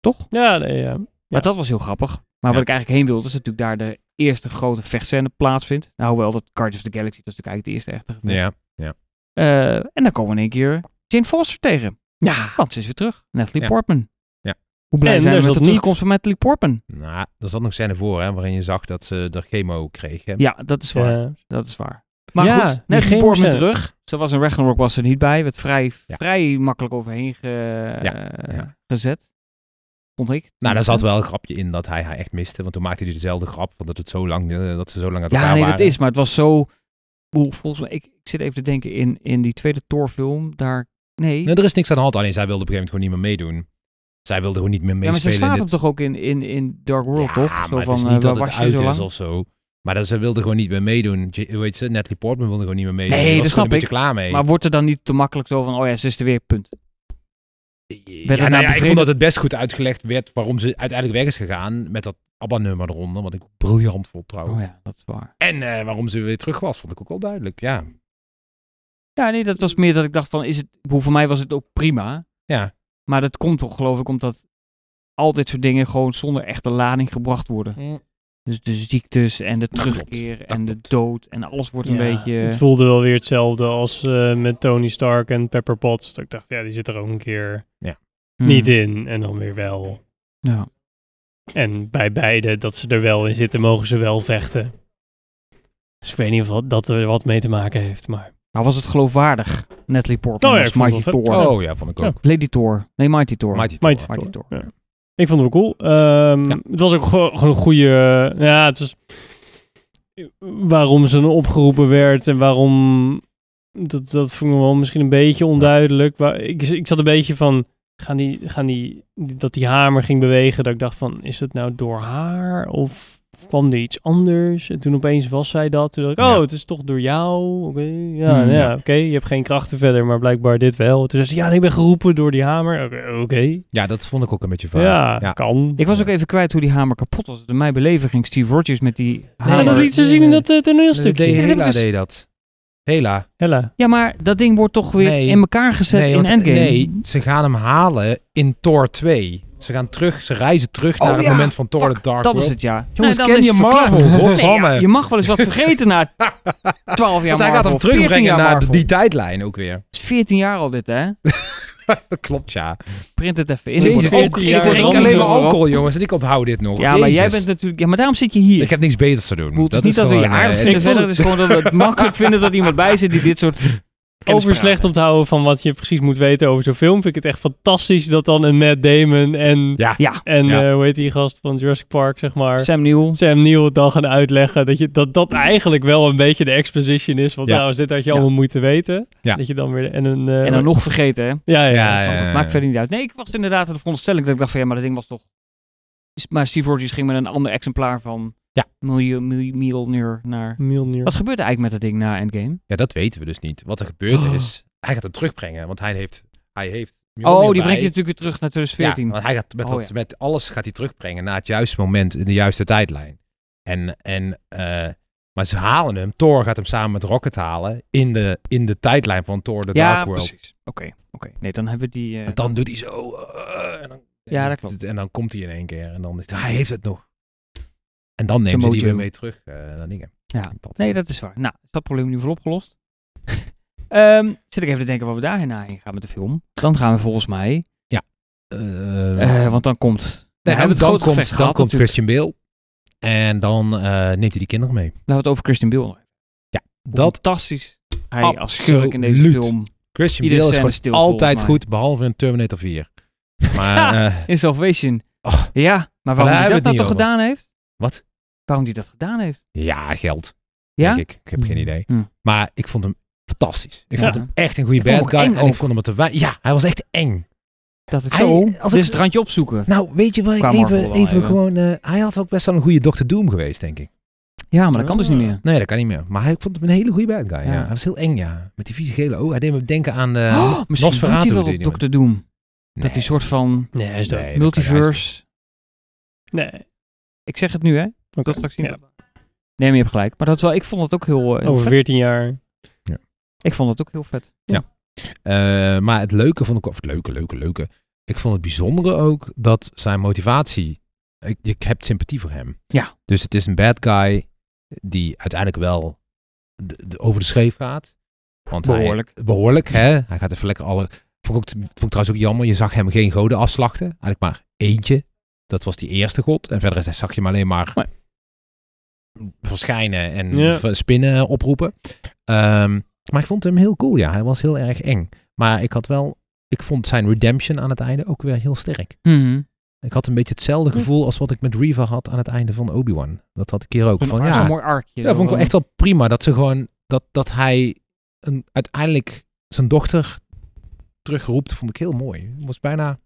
Toch?
Ja, nee, ja.
Maar dat was heel grappig. Maar
Ja.
wat ik eigenlijk heen wilde, is dat natuurlijk daar de eerste grote vechtscène plaatsvindt. Nou, hoewel dat Guardians of the Galaxy, dat is natuurlijk eigenlijk de eerste echte. gevecht.
Ja.
Eh, en dan komen we in één keer Jane Foster tegen. Ja. Want ze is weer terug. Natalie
Ja.
Portman.
Ja.
Hoe blij
En
zijn
daar
we met
zat
de
niet-
terugkomst van Natalie Portman?
Nou, er zat nog scène voor hè, waarin je zag dat ze de chemo kreeg. Hè?
Ja, dat is waar.
Ja.
Dat is waar. Maar
Ja,
goed,
die
net die
ging
Borman
zijn.
terug. Ze was een Ragnarok was er niet bij. Werd vrij,
Ja.
vrij makkelijk overheen ge- eh,
ja.
gezet. Vond ik.
Nou, daar zat wel een grapje in dat hij haar echt miste. Want toen maakte hij dezelfde grap. Want dat, het zo lang, eh, dat ze zo lang uit elkaar
Ja, nee,
waren.
dat is. Maar het was zo... Hoe, volgens mij, ik, ik zit even te denken in, in die tweede Thor-film. Daar, nee.
Nee, er is niks aan de hand. Alleen zij wilde op een gegeven moment gewoon niet meer meedoen. Zij wilde gewoon niet meer
ja, maar ze
meespelen
slaat
in
hem
dit.
toch ook in, in, in Dark World,
ja,
toch?
maar het is
eh,
niet
waar
dat het
was je zo
uit
lang?
is of zo. Maar dat ze wilde gewoon niet meer meedoen. J- hoe heet ze? Natalie Portman wilde gewoon niet meer meedoen.
Nee,
Die was
dat
gewoon
snap
een beetje klaar mee.
Maar wordt er dan niet te makkelijk zo van, oh ja, ze is er weer, punt.
ja,
het
nou
nou
ja, ik
bevreden-
vond dat het best goed uitgelegd werd waarom ze uiteindelijk weg is gegaan met dat ABBA-nummer eronder. Wat ik ook briljant vond trouwens.
Oh ja, dat is waar.
En eh, waarom ze weer terug was, vond ik ook wel duidelijk. Ja,
Ja, nee, dat was meer dat ik dacht van, is het, ik bedoel, voor mij was het ook prima.
Ja.
Maar dat komt toch, geloof ik, omdat al dit soort dingen gewoon zonder echte lading gebracht worden. Dus de ziektes en de
klopt,
terugkeer
dat
en de
klopt.
dood en alles wordt een
Ja,
beetje...
Het voelde wel weer hetzelfde als eh, met Tony Stark en Pepper Potts. Dat ik dacht, ja, die zit er ook een keer
Hmm.
niet in en dan weer wel.
Ja.
En bij beide, dat ze er wel in zitten, mogen ze wel vechten. Dus ik weet niet of dat- dat er wat mee te maken heeft, maar...
Nou was het geloofwaardig, Natalie Portman
Oh ja,
als
ik vond
Mighty
het wel
Thor.
vet.
Oh ja, vond ik
Ja.
ook.
Lady Thor. Nee, Mighty Thor.
Mighty Thor.
Mighty
Mighty
Thor.
Thor.
Ja. Ik vond het wel cool. Ehm,
Ja.
Het was ook gewoon gewoon een goede... eh, Ja, het was... Waarom ze opgeroepen werd en waarom... Dat, dat vond ik wel misschien een beetje onduidelijk. Maar ik, ik zat een beetje van... Gaan die, gaan die, dat die hamer ging bewegen. Dat ik dacht van, is dat nou door haar? Of kwam er iets anders? En toen opeens was zij dat. Toen dacht ik,
Ja.
oh, het is toch door jou? Oké, ja,
Hmm.
ja, oké. Je hebt geen krachten verder, maar blijkbaar dit wel. Toen zei ze, ja, nee, ik ben geroepen door die hamer. Oké, oké.
Ja, dat vond ik ook een beetje van.
Ja, kan.
Ik was ook even kwijt hoe die hamer kapot was. In mijn beleving ging Steve Rogers met die
Ja,
Nou,
hamer...
dat liet ze zien in dat eh, toneelstukje.
deed,
heb ik
Hela
dus-
deed dat. Hela.
Hella.
Ja, maar dat ding wordt toch weer
Nee.
in elkaar gezet
nee,
in
want-
Endgame.
nee, ze gaan hem halen in Thor 2. Ze gaan terug, ze reizen terug
Oh
naar het
ja,
moment van Thor the Dark
dat
World.
is het, ja.
Jongens,
dan
ken
is
je
het verklaard.
Marvel?
Nee,
Godsamme.
ja, je mag wel eens wat vergeten na 12 jaar
Want hij gaat hem
Marvel, 14
terugbrengen
jaar
naar
Marvel.
die tijdlijn ook weer.
Het is 14 jaar al dit, hè?
Dat klopt, ja.
Print het even in.
Jezus,
Ik word
ik,
ook-
jaar
ik
word
drink
ook
alleen maar
door, hoor.
alcohol, jongens. En ik onthoud dit nog.
Ja, maar jij
Jezus.
bent natuurlijk... Ja, maar daarom zit je hier.
Ik heb niks beters te doen.
Ik bedoel, het is niet dat we je
gewoon, eh,
aardig
het-
vinden
ik vond
verder. Het is gewoon dat we het makkelijk vinden dat iemand bij zit die dit soort...
Over
kennispraat
slecht
heeft.
onthouden van wat je precies moet weten over zo'n film. Vind ik het echt fantastisch dat dan een Matt Damon en,
Ja.
Ja,
en
Ja.
eh, hoe heet die gast van Jurassic Park, zeg maar. Sam,
Sam Neill.
Neill het dan gaan uitleggen. Dat, je, dat dat eigenlijk wel een beetje de exposition is. Want
Ja.
trouwens, dit had je
Ja.
allemaal moeten weten.
Ja.
Dat je dan weer... En een... eh,
En dan nog vergeten, hè?
Ja, ja.
Ja,
ja.
ja.
Maakt verder niet uit. Nee, ik was inderdaad in de veronderstelling dat ik dacht van ja, maar dat ding was toch... Maar Steve Rogers ging met een ander exemplaar van
Ja.
miljoen, miljoen, naar...
Mjolnir.
Wat gebeurde eigenlijk met dat ding na Endgame?
Ja, dat weten we dus niet. Wat er gebeurd is, hij gaat hem terugbrengen. Want hij heeft... Hij heeft
oh,
Mjolnir
die
bij.
brengt je natuurlijk weer terug naar 2014.
Ja, want hij gaat met,
Oh,
dat,
ja.
met alles gaat hij terugbrengen naar het juiste moment in de juiste tijdlijn. En, en, eh, maar ze halen hem. Thor gaat hem samen met Rocket halen in de, in de tijdlijn van Thor the
Ja,
Dark World.
precies. Oké, oké. Nee, dan hebben we die... eh,
En dan doet hij zo. eh, en dan,
Ja,
en
dat klopt.
En dan komt hij in één keer en dan is hij, hij heeft het nog. En dan nemen ze
Mojo.
die weer mee terug eh, naar dingen.
Ja.
dat,
Nee, dat is waar. Nou, is dat probleem nu wel opgelost? Ehm, zit ik even te denken wat we daarna heen gaan met de film. Dan gaan we volgens mij...
Eh,
eh, want dan komt...
nee,
we hebben het
dan
grote
komt,
gevecht
dan
gehad
komt
natuurlijk.
Christian Bale. En dan eh, neemt hij die kinderen mee.
Laten we het over Christian Bale nog hebben.
Dat
Fantastisch. Hij als schurk in deze
Absoluut.
film...
Christian
Iedere
Bale
scène
is gewoon
stil, volgens
altijd
mij.
goed, behalve in Terminator 4. Maar eh,
In Salvation.
Och.
ja, maar waarom
daar
hij dat
hebben
nou
we
toch
het niet
gedaan heeft?
Wat?
Waarom hij dat gedaan heeft?
ja, geld.
Ja?
Denk ik. ik heb geen idee.
Hm.
Maar ik vond hem fantastisch. Ik
Ja.
vond hem echt een goede
Ik vond hem
bad guy.
ook
En
eng
ik
ook.
vond hem er te wij- Ja, hij was echt eng.
Dat ik
Hij-
zo...
als
Als
ik-
het randje opzoeken.
Nou, weet je wel,
Qua
even,
Marvel wel
even,
even.
gewoon... eh, hij had ook best wel een goede Dr. Doom geweest, denk ik.
Ja, maar dat kan dus niet meer.
Nee, dat kan niet meer. Maar hij ik vond hem een hele goede bad guy. Ja.
Ja.
Hij was heel eng, ja. Met die vieze gele ogen. Hij deed me denken aan de
Oh, misschien doet
Eh, Nosferatu.
hij wel
die
op
die-
Dr. Doom. Dat die
Nee.
soort van
Nee, hij is dood.
Nee, dat kan juist
multiverse...
Nee.
Ik zeg het nu, hè?
Oké.
Dat straks zien.
Ja.
Nee, maar je hebt gelijk. Maar dat is wel, ik vond het ook heel, eh, heel
Over
vet.
14 jaar.
Ik vond het ook heel vet.
Eh, maar het leuke vond ik, of het leuke, leuke, leuke. Ik vond het bijzondere ook dat zijn motivatie. Ik, ik heb sympathie voor hem.
Ja.
Dus het is een bad guy die uiteindelijk wel de, de- over de scheef gaat. Want
Behoorlijk.
Hij, behoorlijk, hè? Hij gaat even lekker alle. Vond ik, ook, vond ik trouwens ook jammer. Je zag hem geen goden afslachten. Eigenlijk maar eentje. Dat was die eerste god. En verder is hij, zag je hem alleen maar.
Maar-
verschijnen en
Ja.
v- spinnen oproepen. Ehm, maar ik vond hem heel cool, ja. Hij was heel erg eng. Maar ik had wel, ik vond zijn redemption aan het einde ook weer heel sterk.
Mhm.
Ik had een beetje hetzelfde gevoel als wat ik met Reva had aan het einde van Obi-Wan. Dat had ik hier ook.
Zo'n
Van,
ar-
ja,
Zo'n mooi arkje.
ja, dat vond ik wel echt wel prima. Dat ze gewoon, dat, dat hij een, uiteindelijk zijn dochter terugroept, vond ik heel mooi. Was bijna,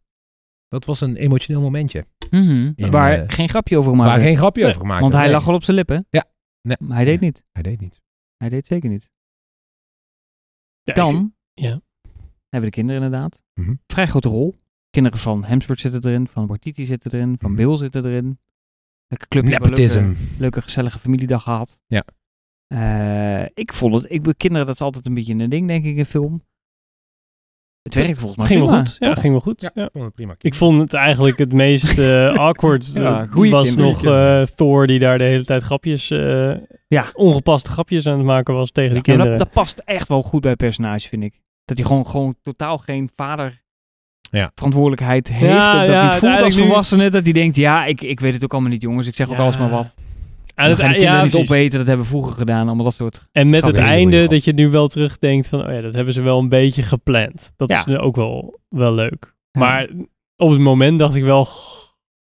dat was een emotioneel momentje.
Mhm.
In,
Waar
eh,
geen grapje over gemaakt
Waar
werd.
geen grapje
Nee,
over gemaakt
Want hij
werd.
lag
Nee,
al op zijn lippen.
Ja. Nee.
Maar hij deed niet.
Hij deed niet.
Hij deed zeker niet.
Ja,
Dan
ik- ja.
hebben de kinderen inderdaad
Mhm.
vrij grote rol. Kinderen van Hemsworth zitten erin, van Bartiti zitten erin, van
Mhm.
Bill zitten erin. Lekker clubje. hebben we
Nepotism.
Leuke, leuke, gezellige familiedag gehad.
Ja.
Eh, ik vond het, ik, be- kinderen dat is altijd een beetje een ding denk ik in film. Het werkt volgens mij
ging wel
prima.
goed. Ja, ging wel goed.
Ja.
ja.
Ik vond het prima.
Ik vond het eigenlijk het meest eh, awkward.
Ja,
eh,
goeie
was
kinderen.
nog eh, Thor die daar de hele tijd grapjes, eh,
Ja.
ongepaste grapjes aan het maken was tegen die
Ja, maar
kinderen.
dat, dat past echt wel goed bij het personage vind ik. Dat hij gewoon, gewoon totaal geen vader
Ja.
verantwoordelijkheid heeft.
Ja,
of dat
ja,
niet voelt als
uiteindelijk nu-
volwassene. Dat hij denkt, ja, ik, ik weet het ook allemaal niet jongens. Ik zeg ook
Ja.
alles maar wat.
Aan
En
het
dan gaan
ei-
die kinderen
ja,
niet
precies.
opeten, dat hebben we vroeger gedaan, allemaal dat soort.
En met het
Grapjes.
einde dat je nu wel terugdenkt van, oh ja, dat hebben ze wel een beetje gepland. Dat
Ja.
is nu ook wel, wel leuk. Maar op het moment dacht ik wel,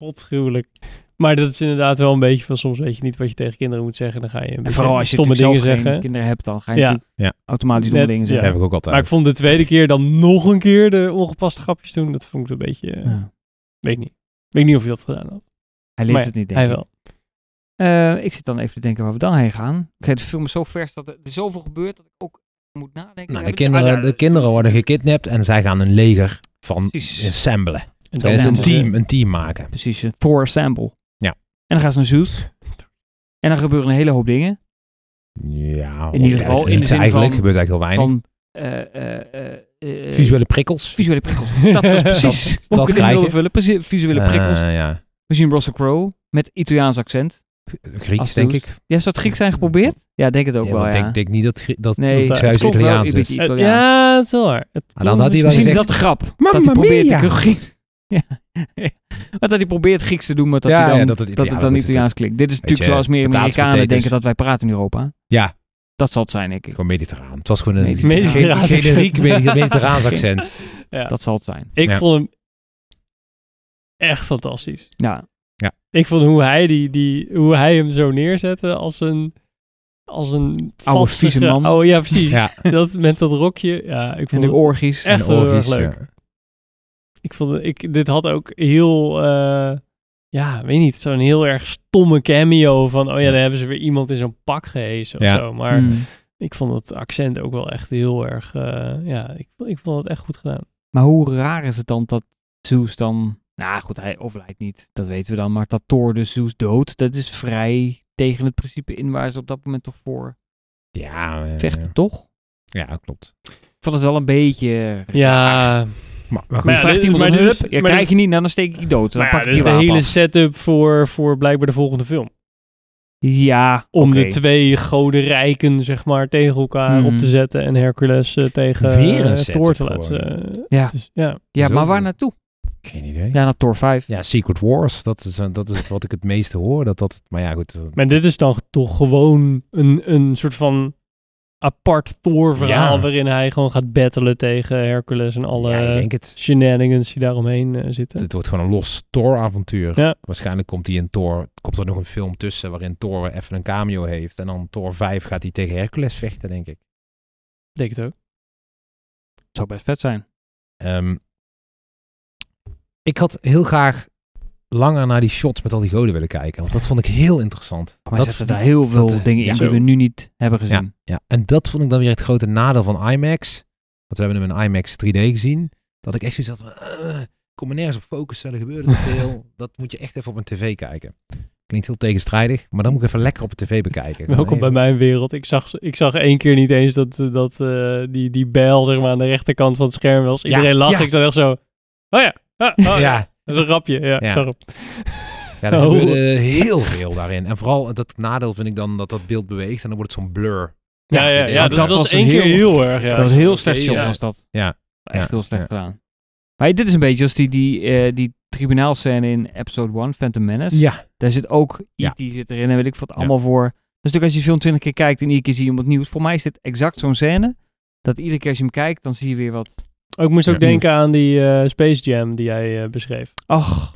godschuwelijk. Maar dat is inderdaad wel een beetje van, soms weet je niet wat je tegen kinderen moet zeggen. Dan ga je een
en
beetje
vooral als je
stomme dingen
natuurlijk zelf
zeggen.
geen kinderen hebt, dan ga je
Ja.
natuurlijk
Ja.
automatisch domme
Net,
dingen
ja.
zeggen.
Dat heb ik ook altijd.
Maar ik vond de tweede keer dan nog een keer de ongepaste grapjes doen. Dat vond ik een beetje, eh,
Ja.
weet ik niet. Weet ik niet of je dat gedaan had.
Hij leert
Maar ja,
het niet, denk
Hij
ik.
wel.
Eh, ik zit dan even te denken waar we dan heen gaan. Ik heb de film is zo vers dat er er zoveel gebeurt dat ik ook moet nadenken.
Nou,
We
de,
hebben- Ah,
kinderen,
daar-
de kinderen worden gekidnapt en zij gaan een leger van
Precies.
assemblen.
En
Dat is
dan
een
moeten ze-
team, een team maken.
Precies, een Thor Assemble.
Ja.
En dan gaan ze naar Zeus. En dan gebeuren een hele hoop dingen.
Ja,
In
of
ieder geval, in de
niets
zin
eigenlijk
van-
gebeurt eigenlijk heel weinig.
Dan eh, eh, eh, eh,
Visuele prikkels.
visuele prikkels. Dat is precies
dat
wat ik in
krijg
wilde
je.
vullen. Precies, Visuele prikkels.
Eh, ja.
We zien Russell Crowe met Italiaans accent.
Grieks,
Als
denk
Zeus.
ik.
Ja, zou het Grieks zijn geprobeerd? Ja, denk het ook
Ja,
wel,
want
ja.
Ik denk, denk niet dat, Grie- dat,
nee,
dat
het
Zeus
klopt wel
Italiaans
een
is.
beetje
Eh,
Italiaans.
ja, dat is wel waar. Het
Maar dan had hij wel
Misschien is
gezegd-
dat de grap. dat
Mamma
hij probeert
mia.
te Grieks... Ja. Maar dat hij probeert Grieks te doen, maar dat,
Ja,
hij dan,
ja,
dat,
dat het
het,
Italiaans-
dan
dat het-
Italiaans klinkt. Dit is
Weet
natuurlijk
je,
zoals meer
patatjes,
Amerikanen
potatoes.
denken dat wij praten in Europa.
Ja.
Dat zal het zijn, denk ik.
Gewoon mediterraan. Het was gewoon een
Mediterraan.
ge- generiek
Mediterraan.
mediterraans accent.
Ja.
Dat zal het zijn.
Ik
Ja.
vond hem echt fantastisch.
Ja,
Ik vond hoe hij, die, die, hoe hij hem zo neerzette als een... Als een
Oude
vastige-
vieze man.
Oh ja, precies.
Ja.
Dat, met dat rokje. Ja, ik
en
vond
de
het
orgies.
echt
En
heel erg
orgies,
leuk.
ja.
Ik vond het- ik, dit had ook heel, eh, ja, weet niet, zo'n heel erg stomme cameo van, oh ja, daar hebben ze weer iemand in zo'n pak gehezen of
Ja.
zo. Maar
Mm.
ik vond het accent ook wel echt heel erg, eh, ja, ik, ik vond het echt goed gedaan.
Maar hoe raar is het dan dat Zeus dan... Nou goed, hij overlijdt niet. Dat weten we dan. Maar dat Thor dus Zeus dood, dat is vrij tegen het principe in waar ze op dat moment toch voor
Ja, eh,
vechten, toch?
ja, klopt.
Ik vond het wel een beetje...
Ja,
Maar, maar goed,
Maar ja,
Vraagt
dit-
iemand
maar
een
dit
hup,
is-
ja, dus-
maar
krijg
dit-
je niet, nou, dan steek ik je dood. Dan
maar ja,
pak
dat
ik
is
je
de
wapen
hele
af.
setup voor, voor blijkbaar de volgende film.
Ja,
Om
oké.
de twee godenrijken, zeg maar, tegen elkaar
Mhm.
op te zetten en Hercules eh, tegen
Weer een
eh,
setup
Thor te
gewoon.
laten. eh,
Ja.
dus, ja.
Ja,
Zo
maar waar
goed.
naartoe?
geen idee. Ja.
Ja, naar Thor 5.
Secret Wars, dat is, eh, dat is wat ik het meeste hoor. Dat, dat, maar ja, goed. eh,
Maar dit is dan toch gewoon een, een soort van apart Thor-verhaal
Ja.
waarin hij gewoon gaat battelen tegen Hercules en alle
ja, ik denk het.
shenanigans die daaromheen eh, zitten.
Het wordt gewoon een los Thor-avontuur.
Ja.
Waarschijnlijk komt hij in Thor. Komt er nog een film tussen waarin Thor even een cameo heeft. En dan Thor 5 gaat hij tegen Hercules vechten, denk ik.
denk het ook.
Zou best vet zijn.
Ehm, ik had heel graag langer naar die shots met al die goden willen kijken. Want dat vond ik heel interessant.
Maar
dat
dat zitten daar heel
dat-
veel
dat-
dingen in
ja.
die we nu niet hebben gezien.
Ja, en dat vond ik dan weer het grote nadeel van IMAX. Want we hebben hem in IMAX 3D gezien. Dat ik echt zoiets had van... eh, ik kon me nergens op focussen, er gebeurde te veel. dat moet je echt even op een tv kijken. Klinkt heel tegenstrijdig, maar dan moet ik even lekker op een tv bekijken. Gewoon
Welkom bij
even-
mijn wereld. Ik zag, ik zag één keer niet eens dat, eh, dat eh, die, die bijl zeg maar, aan de rechterkant van het scherm was.
Ja,
Iedereen lacht.
ja.
Ik zat echt zo... Oh ja, ah, oh ja.
Ja,
Dat is een rapje. Ja,
Ja.
ik zag hem.
ja er
Oh.
gebeurde heel veel daarin. En vooral dat nadeel vind ik dan dat dat beeld beweegt en dan wordt het zo'n blur.
Ja, ja, ja,
Ja,
dat,
dat
was,
was een
één keer
heel-
heel erg. Ja.
dat was heel
Oké,
slecht shot,
ja.
was dat.
Ja.
Echt
Ja,
heel slecht
ja.
gedaan. Maar dit is een beetje als die, die, eh, die tribunaalscène in episode 1, Phantom Menace.
Ja.
Daar zit ook
Ja.
E.T. zit erin en weet ik wat allemaal voor. Dus natuurlijk als je de film twintig keer kijkt en iedere keer zie je iemand nieuws. Voor mij is dit exact zo'n scène. Dat iedere keer als je hem kijkt, dan zie je weer wat.
Ook moest ook
Ja.
denken aan die eh, Space Jam die jij eh, beschreef.
Ach,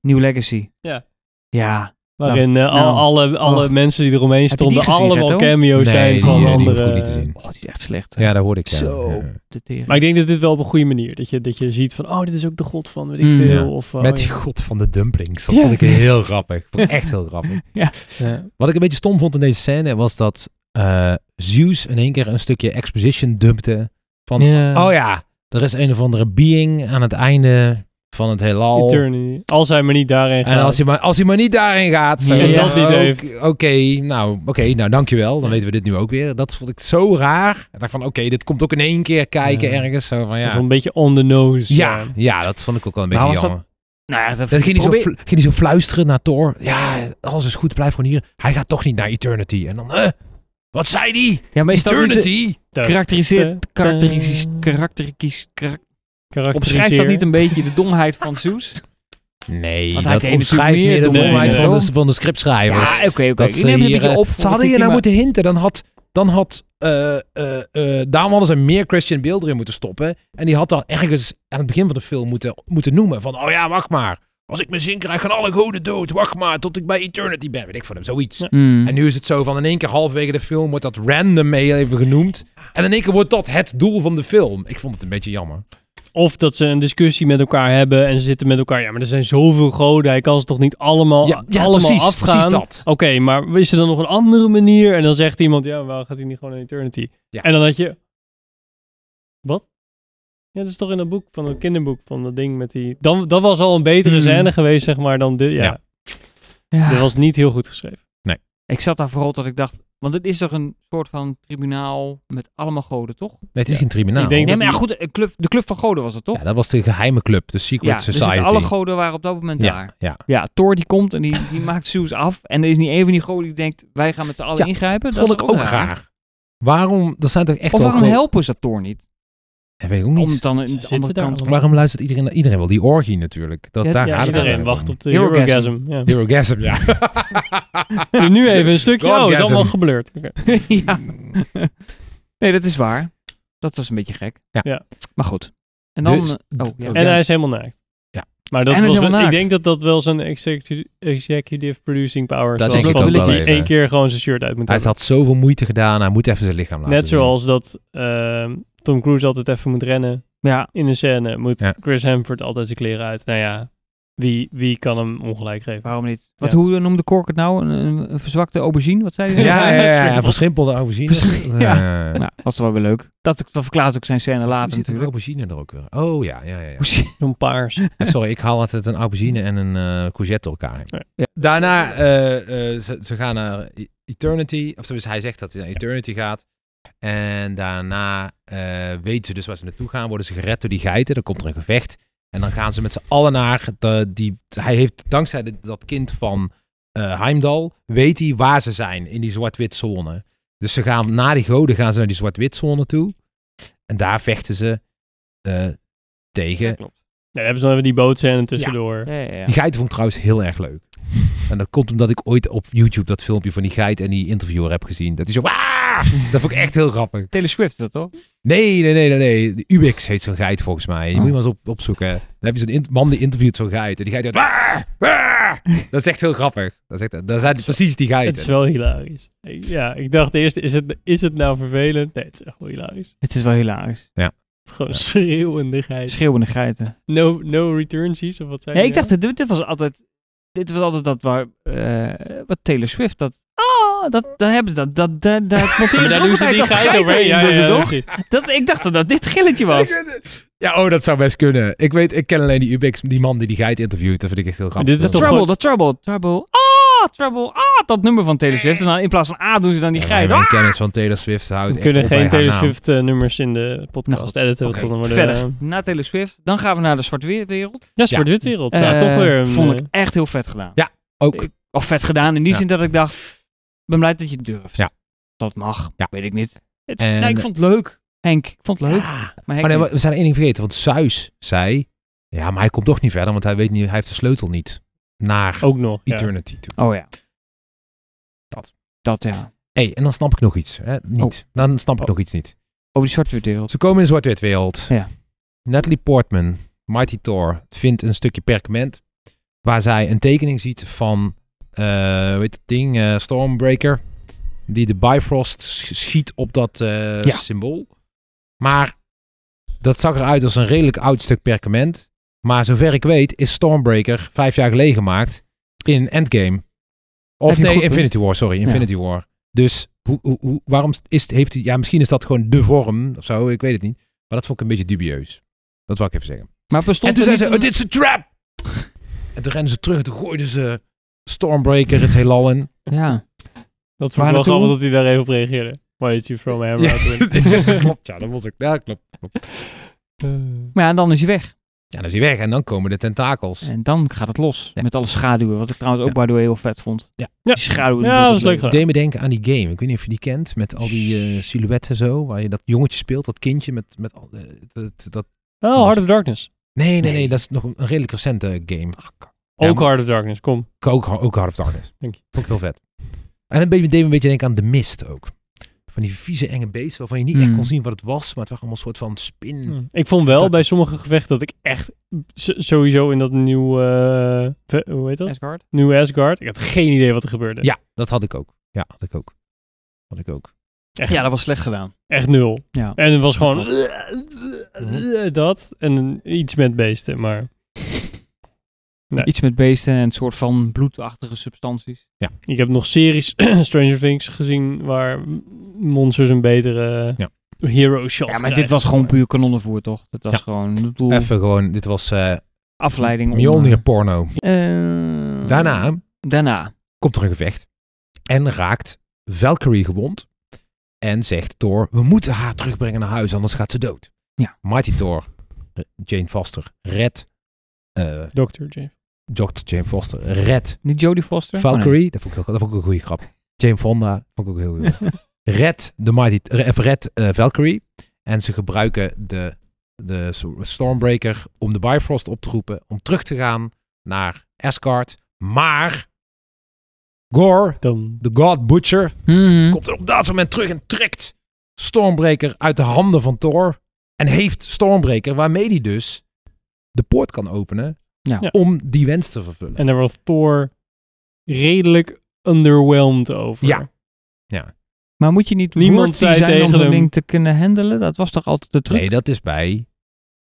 New Legacy.
Ja.
Ja.
Waarin eh, al-
nou,
alle, alle
och.
mensen die eromheen
Heb je die
stonden
gezien,
allemaal
Gert-Jan?
cameo's zijn
die,
van
eh, die hoef ik
andere...
ook niet te zien.
Oh, die is echt slecht. hè.
Ja, daar hoorde ik. ja.
Zo.
Ja.
De tering.
Maar ik denk dat dit wel op een goede manier. Dat je, dat je ziet van, oh, dit is ook de god van, weet ik
Mm.
veel.
Hmm. Ja.
Of, eh,
Met
oh,
die
ja.
god van de dumplings. Dat
Ja.
vond ik heel grappig. Vond ik echt heel grappig.
Ja.
Wat ik een beetje stom vond in deze scène was dat eh, Zeus in één keer een stukje exposition dumpte. Van,
Ja.
oh ja, er is een of andere being aan het einde van het heelal.
Eternity. Als hij maar niet daarin gaat.
En als hij, maar, als hij maar niet daarin gaat. zo,
En
dat niet
oké,
heeft.
Oké, nou, oké, nou dankjewel. Dan weten we dit nu ook weer. Dat vond ik zo raar. Ik dacht van, oké, dit komt ook in één keer kijken
Ja.
ergens. Zo van,
Dat is
ja.
wel een beetje on the nose.
Ja, ja, dat vond ik ook wel een
Nou,
beetje
was
jammer.
Nou ja, dat,
Dat ging, hij zo
probeer-
fl- ging hij zo fluisteren naar Thor. Ja, alles is goed, blijf gewoon hier. Hij gaat toch niet naar Eternity. En dan, eh, wat zei die?
Ja, maar is dat niet de-
Eternity?
Ja.
karakteriseert,
Ta-
karakteriseert,
ta-
karakteriseert, karak-
Karakteriseer.
Omschrijft dat niet een beetje de domheid van Zeus?
Nee,
Want hij
dat
deed natuurlijk
omschrijft
meer
meer de
dan
nee,
domheid
nee.
van, de, van de scriptschrijvers.
oké,
dat
Ik
ze,
neem het een
hier,
beetje
eh,
op. voor
ze hadden
de
hier nou
thema.
moeten hinten. Dan had, dan had eh, eh, eh, daarom hadden ze meer Christian Bale erin moeten stoppen. En die had dat ergens aan het begin van de film moeten, moeten noemen. Van, oh ja, wacht maar. Als ik mijn zin krijg, gaan alle goden dood. Wacht maar, tot ik bij Eternity ben. Weet ik van hem, zoiets.
Hmm.
En nu is het zo van in één keer halverwege de film wordt dat random mee even genoemd. En in één keer wordt dat het doel van de film. Ik vond het een beetje jammer.
Of dat ze een discussie met elkaar hebben en ze zitten met elkaar. Ja, maar er zijn zoveel goden. Hij kan ze toch niet allemaal,
Ja, ja,
allemaal
precies,
afgaan?
precies dat.
Oké, maar is er dan nog een andere manier? En dan zegt iemand, ja, waarom gaat hij niet gewoon naar Eternity?
Ja.
En dan had je... Wat? Ja, dat is toch in dat boek, van het kinderboek, van dat ding met die... Dan, dat was al een betere
Mm.
scène geweest, zeg maar, dan dit. Ja,
Ja.
Ja.
dat was niet heel goed geschreven.
Ik zat daar vooral dat ik dacht, want het is toch een soort van tribunaal met allemaal goden, toch?
Nee, het is geen tribunaal.
Ik denk
nee,
dat
maar ja,
die-
goed, een club, de club van goden was het, toch?
Ja, dat was de geheime club, de Secret
Ja, dus
Society.
het- alle goden waren op dat moment
ja,
daar.
ja.
Ja, Thor die komt en die, die maakt Zeus af. En er is niet één van die goden die denkt, wij gaan met z'n allen
Ja,
ingrijpen.
Dat
Dat
vond
is
ik ook raar. Waarom, dat zijn toch echt
Of
wel
waarom
gewoon-
helpen ze dat Thor niet?
Dat weet ik ook
Om
niet.
het dan aan
Ze
de
zitten
andere
daar
kant...
allemaal.
Waarom luistert iedereen naar iedereen wel? Die orgie natuurlijk. Dat,
Ja,
daar
ja,
gaat het
iedereen
eigenlijk
wacht
om.
op de
Eurogasm.
Eurogasm. Ja.
Eurogasm, ja.
Doe nu even een stukje. Oh, het is
Godgasm.
allemaal geblurred. Oké.
ja. nee, dat is waar. Dat was een beetje gek.
Ja.
Ja.
Maar goed. En dan...
Dus-
eh, oh, ja.
En
Ja.
hij is helemaal naakt.
Ja.
Maar dat
En hij is
was wel-
helemaal
ik
naakt.
denk dat dat wel zijn execu- executive producing power
Dat
was.
denk
ik
Van
ook
dat
wel
hij
even.
één keer gewoon zijn shirt uit moet
Hij
hebben.
had zoveel moeite gedaan. Hij moet even zijn lichaam laten
Net
zien.
zoals dat ehm, Tom Cruise altijd even moet rennen
ja.
in een scène. Moet
Ja.
Chris Hemsworth altijd zijn kleren uit. Nou ja, wie, wie kan hem ongelijk geven?
Waarom niet? Wat, Hoe noemde Kork het nou? Een, een, een verzwakte aubergine? Wat zei hij?
Ja, ja, ja. ja. Verschimpelde aubergine. Ja.
Nou, was wel weer leuk. Dat, dat verklaart ook zijn scène
Hoe
later
zit een
natuurlijk.
aubergine er ook weer? Oh ja, ja, ja. ja.
Zo'n paars.
Ja, Sorry, ik haal altijd een aubergine en een eh, courgette door elkaar. heen.
Ja.
Daarna, eh, eh, ze, ze gaan naar E- Eternity. Of tenminste, hij zegt dat hij naar Eternity gaat. En daarna eh, weten ze dus waar ze naartoe gaan. Worden ze gered door die geiten. Dan komt er een gevecht. En dan gaan ze met z'n allen naar... De, die, hij heeft dankzij de- dat kind van eh, Heimdall... weet hij waar ze zijn in die zwart-wit zone. Dus ze gaan na die goden gaan ze naar die zwart-wit zone toe. En daar vechten ze eh, tegen
klopt.
Ja, dan hebben ze nog even die bootscène tussendoor.
Ja, ja, ja.
die geiten vond ik trouwens heel erg leuk. En dat komt omdat ik ooit op YouTube dat filmpje van die geit en die interviewer heb gezien. Dat is zo... "Waa!" Dat vond ik echt heel grappig.
Taylor Swift is dat toch?
Nee, nee, nee, nee. nee. De Ubix heet zo'n geit volgens mij. Je
Oh.
moet je maar eens op, opzoeken. Dan heb je zo'n in- man die interviewt zo'n geit. En die geit doet... "Waa! Waa!" Dat is echt heel grappig. Dat is echt, daar zijn precies die
Het is
geiten.
wel hilarisch. Ik- ja, ik dacht eerst, is het, is het nou vervelend? Nee, het is echt wel hilarisch.
Het is wel hilarisch.
Gewoon schreeuwendigheid.
Schreeuwende geiten.
No, no returns of wat zijn
Nee, ik dacht, dit, dit was altijd... Dit was altijd dat waar... eh, wat Taylor Swift, dat... Ah, dat, daar hebben ze dat... dat, dat, dat monteren ze
daar
ook
doen ze
altijd
die
dat
geit overheen.
in,
Ja,
doen
ja,
ze
ja,
toch?
precies.
Dat, ik dacht dat dat dit gilletje was.
Ja, oh, dat zou best kunnen. Ik weet, ik ken alleen die Ubix, die man die die geit interviewt. Dat vind ik echt heel grappig.
Dit is toch-
Trouble,
gewoon-
dat trouble, trouble. Ah, trouble, ah, dat nummer van Taylor Swift. En dan in plaats van A doen ze dan die
Ja,
geit.
Mijn
Ah!
kennis van Taylor Swift houdt
We kunnen
echt op bij
geen
haar
Taylor
naam.
Swift eh, nummers in de
Nou
podcast
goed,
editen. want
oké.
dan worden, eh,
Verder, na Taylor Swift, dan gaan we naar de zwart-wereld.
ja, Sport Wit Wereld.
Eh,
nou, toch weer een...
Vond
eh,
ik echt heel vet gedaan.
Ook.
Of vet gedaan in die
Ja.
zin dat ik dacht, ben blij dat je het durft.
Ja.
Dat mag,
Ja.
weet ik niet. Het,
En-
nee, ik vond het leuk, Henk. Ik vond het leuk.
Ja.
Maar Henk
Maar nee,
niet.
we zijn één ding vergeten. Want Zeus zei, Ja, maar hij komt toch niet verder, want hij weet niet, hij heeft de sleutel niet naar
Ook nog. ja.
Eternity toe.
Oh ja.
Dat.
Dat ja.
hey, en dan snap ik nog iets. Hè? Niet. Dan snap ik
Oh.
nog iets niet.
Over die zwarte wereld.
Ze komen in een zwart-wit wereld.
Ja.
Natalie Portman, Mighty Thor, vindt een stukje perkament waar zij een tekening ziet van, eh weet het ding, eh, Stormbreaker, die de Bifrost sch- schiet op dat eh,
Ja.
symbool. Maar dat zag eruit als een redelijk oud stuk perkament. Maar zover ik weet is Stormbreaker vijf jaar geleden gemaakt in Endgame.
Heb
Of
je een
nee,
goed punt.
Infinity War, sorry, Infinity War. Dus hoe, hoe, hoe- waarom is, heeft hij... Ja, misschien is dat gewoon de vorm of zo, ik weet het niet. Maar dat vond ik een beetje dubieus. Dat wil ik even zeggen.
Maar bestond
en toen
er
zei ze, "Oh,
niet
dit is een trap! en toen renden ze terug en toen gooiden ze Stormbreaker het heelal in.
een- Ja.
Dat vond
Waar
ik wel
naartoe?
grappig dat hij daar even op reageerde. Mighty you from Hammer
Ja,
out win.
klopt, ja, dat was ook... Ja, klopt.
Maar ja, dan is hij weg.
Ja, dan is hij weg en dan komen de tentakels.
En dan gaat het los.
Ja.
Met alle schaduwen. Wat ik trouwens ook by the way heel vet vond.
Ja.
Die schaduwen. die
Ja,
vond ik
dat is leuk gedaan.
deed me denken aan die game. Ik weet niet of je die kent, met al die eh, silhouetten zo, waar je dat jongetje speelt, dat kindje met, met al, eh, dat, dat...
Oh, Heart of Darkness.
Nee, nee,
Nee.
nee, Ah. dat is nog een een redelijk recente game. Ja,
Ook
maar-
Heart of Darkness, kom.
Ook, ook Heart of Darkness.
Dank je.
Vond ik heel vet. En een beetje, deed me een beetje denken aan de Mist ook. Van die vieze enge beesten waarvan je niet echt
Hmm.
kon zien wat het was, maar het was allemaal een soort van spin.
Mm. Ik vond wel
Dat-
bij sommige gevechten dat ik echt s- sowieso in dat nieuw, eh, ve- hoe heet dat?
Asgard.
Nieuw Asgard. Ik had geen idee wat er gebeurde.
Ja, dat had ik ook. Ja, had ik ook. Had ik ook.
Echt,
Ja, dat was slecht gedaan.
echt nul.
Ja.
En het was gewoon eh, dat en iets met beesten, maar Nee.
Iets met beesten en een soort van bloedachtige substanties.
ik heb nog series Stranger Things gezien waar m- monsters een betere
Ja.
hero shot
Ja, maar
krijgen.
dit was gewoon puur kanonnenvoer, toch? Dat was
Ja.
gewoon ik bedoel,
Even gewoon, dit was eh
afleiding. om,
Mjolnir porno.
eh, eh,
Daarna
Daarna.
komt er een gevecht en raakt Valkyrie gewond. En zegt Thor, we moeten haar terugbrengen naar huis, anders gaat ze dood.
Ja.
Mighty Thor, eh, Jane Foster, red. eh
Dr. J.
Dr. Jane Foster, red.
Niet Jodie Foster?
Valkyrie,
Oh, nee.
dat, vond ik heel, dat vond ik een goede grap. Jane Fonda, vond ik ook heel goed. red de Mighty, eh, red eh, Valkyrie. En ze gebruiken de, de Stormbreaker om de Bifrost op te roepen. Om terug te gaan naar Asgard. Maar Gore,
Dan
de God Butcher,
Mhm.
komt er op dat moment terug en trekt Stormbreaker uit de handen van Thor. En heeft Stormbreaker, waarmee hij dus de poort kan openen
Ja.
Ja.
om die wens te vervullen.
en daar was Thor redelijk underwhelmed over.
Ja.
Maar moet je niet
Niemand
Niemand
zei
zijn om
tegen
zo'n
hem-
ding te kunnen handelen? Dat was toch altijd de truc?
nee, dat is bij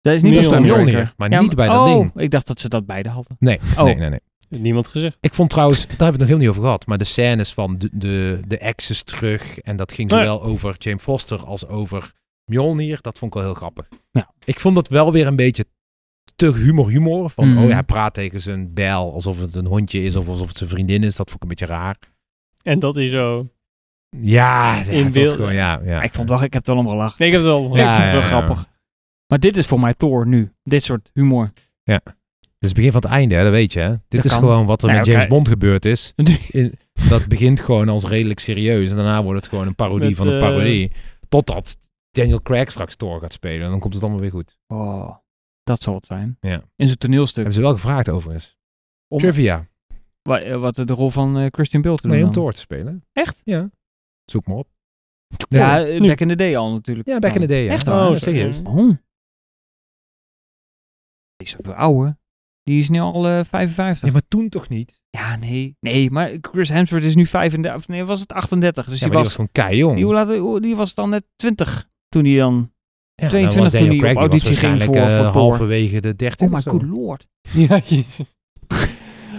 dat is niet
dat is bij
Stormbreaker.
Mjolnir, maar niet bij dat
oh,
ding.
ik dacht dat ze dat beide hadden.
Nee,
Oh.
nee, nee, nee.
Niemand gezegd.
Ik vond trouwens, daar hebben we het nog heel niet over gehad, maar de scènes van de, de, de exes terug en dat ging
Nee.
zowel over James Foster als over Mjolnir, dat vond ik wel heel grappig.
Ja.
Ik vond dat wel weer een beetje te humor-humor, van
Mhm.
oh ja, hij praat tegen zijn bel alsof het een hondje is of alsof het zijn vriendin is, dat vond ik een beetje raar.
En dat is zo.
Ja, ja,
In
het was
beeld.
gewoon, ja, ja.
Maar ik vond wel, ik heb het wel om gelachen.
Nee, ik heb het al.
Ja,
ik vond het wel
ja, ja.
grappig. Maar dit is voor mij Thor nu. Dit soort humor.
Het is het begin van het einde, hè, dat weet je. Hè? Dit
Dat
is
kan.
gewoon wat er
Nou,
met
oké.
James Bond gebeurd is. In- dat begint gewoon als redelijk serieus. En daarna wordt het gewoon een parodie
Met,
van een
eh,
parodie. Totdat Daniel Craig straks Thor gaat spelen. En dan komt het allemaal weer goed.
Oh, dat zal het zijn.
Ja.
In zo'n toneelstuk.
Hebben ze wel gevraagd overigens.
Om-
Trivia.
Wa- eh, Wat de rol van eh, Christian Bale te doen
Nee, om
dan.
Thor te spelen.
Echt?
Ja. Zoek maar op. Nee,
Ja,
toch?
eh,
Nu.
back in the day al natuurlijk.
ja back in the day. Ja.
Echt
Ja,
waar?
ja,
Oh,
sorry.
serieus.
Oh. Die is zoveel ouder. Die is nu al eh, 55.
Ja, maar toen toch niet?
Ja, nee. Nee, maar Chris Hemsworth is nu 35. Of nee, was het 38? Dus
Ja,
die,
maar die
was,
was gewoon keijong.
die, hoe laat- hoe- die was dan net 20 toen hij dan...
Ja, nou,
22
was Daniel
toen hij op
Craig, die was
auditie ging
waarschijnlijk,
voor-
eh,
voor Thor.
halverwege de 30
Oh my
of zo.
good lord.
Ja, jezus.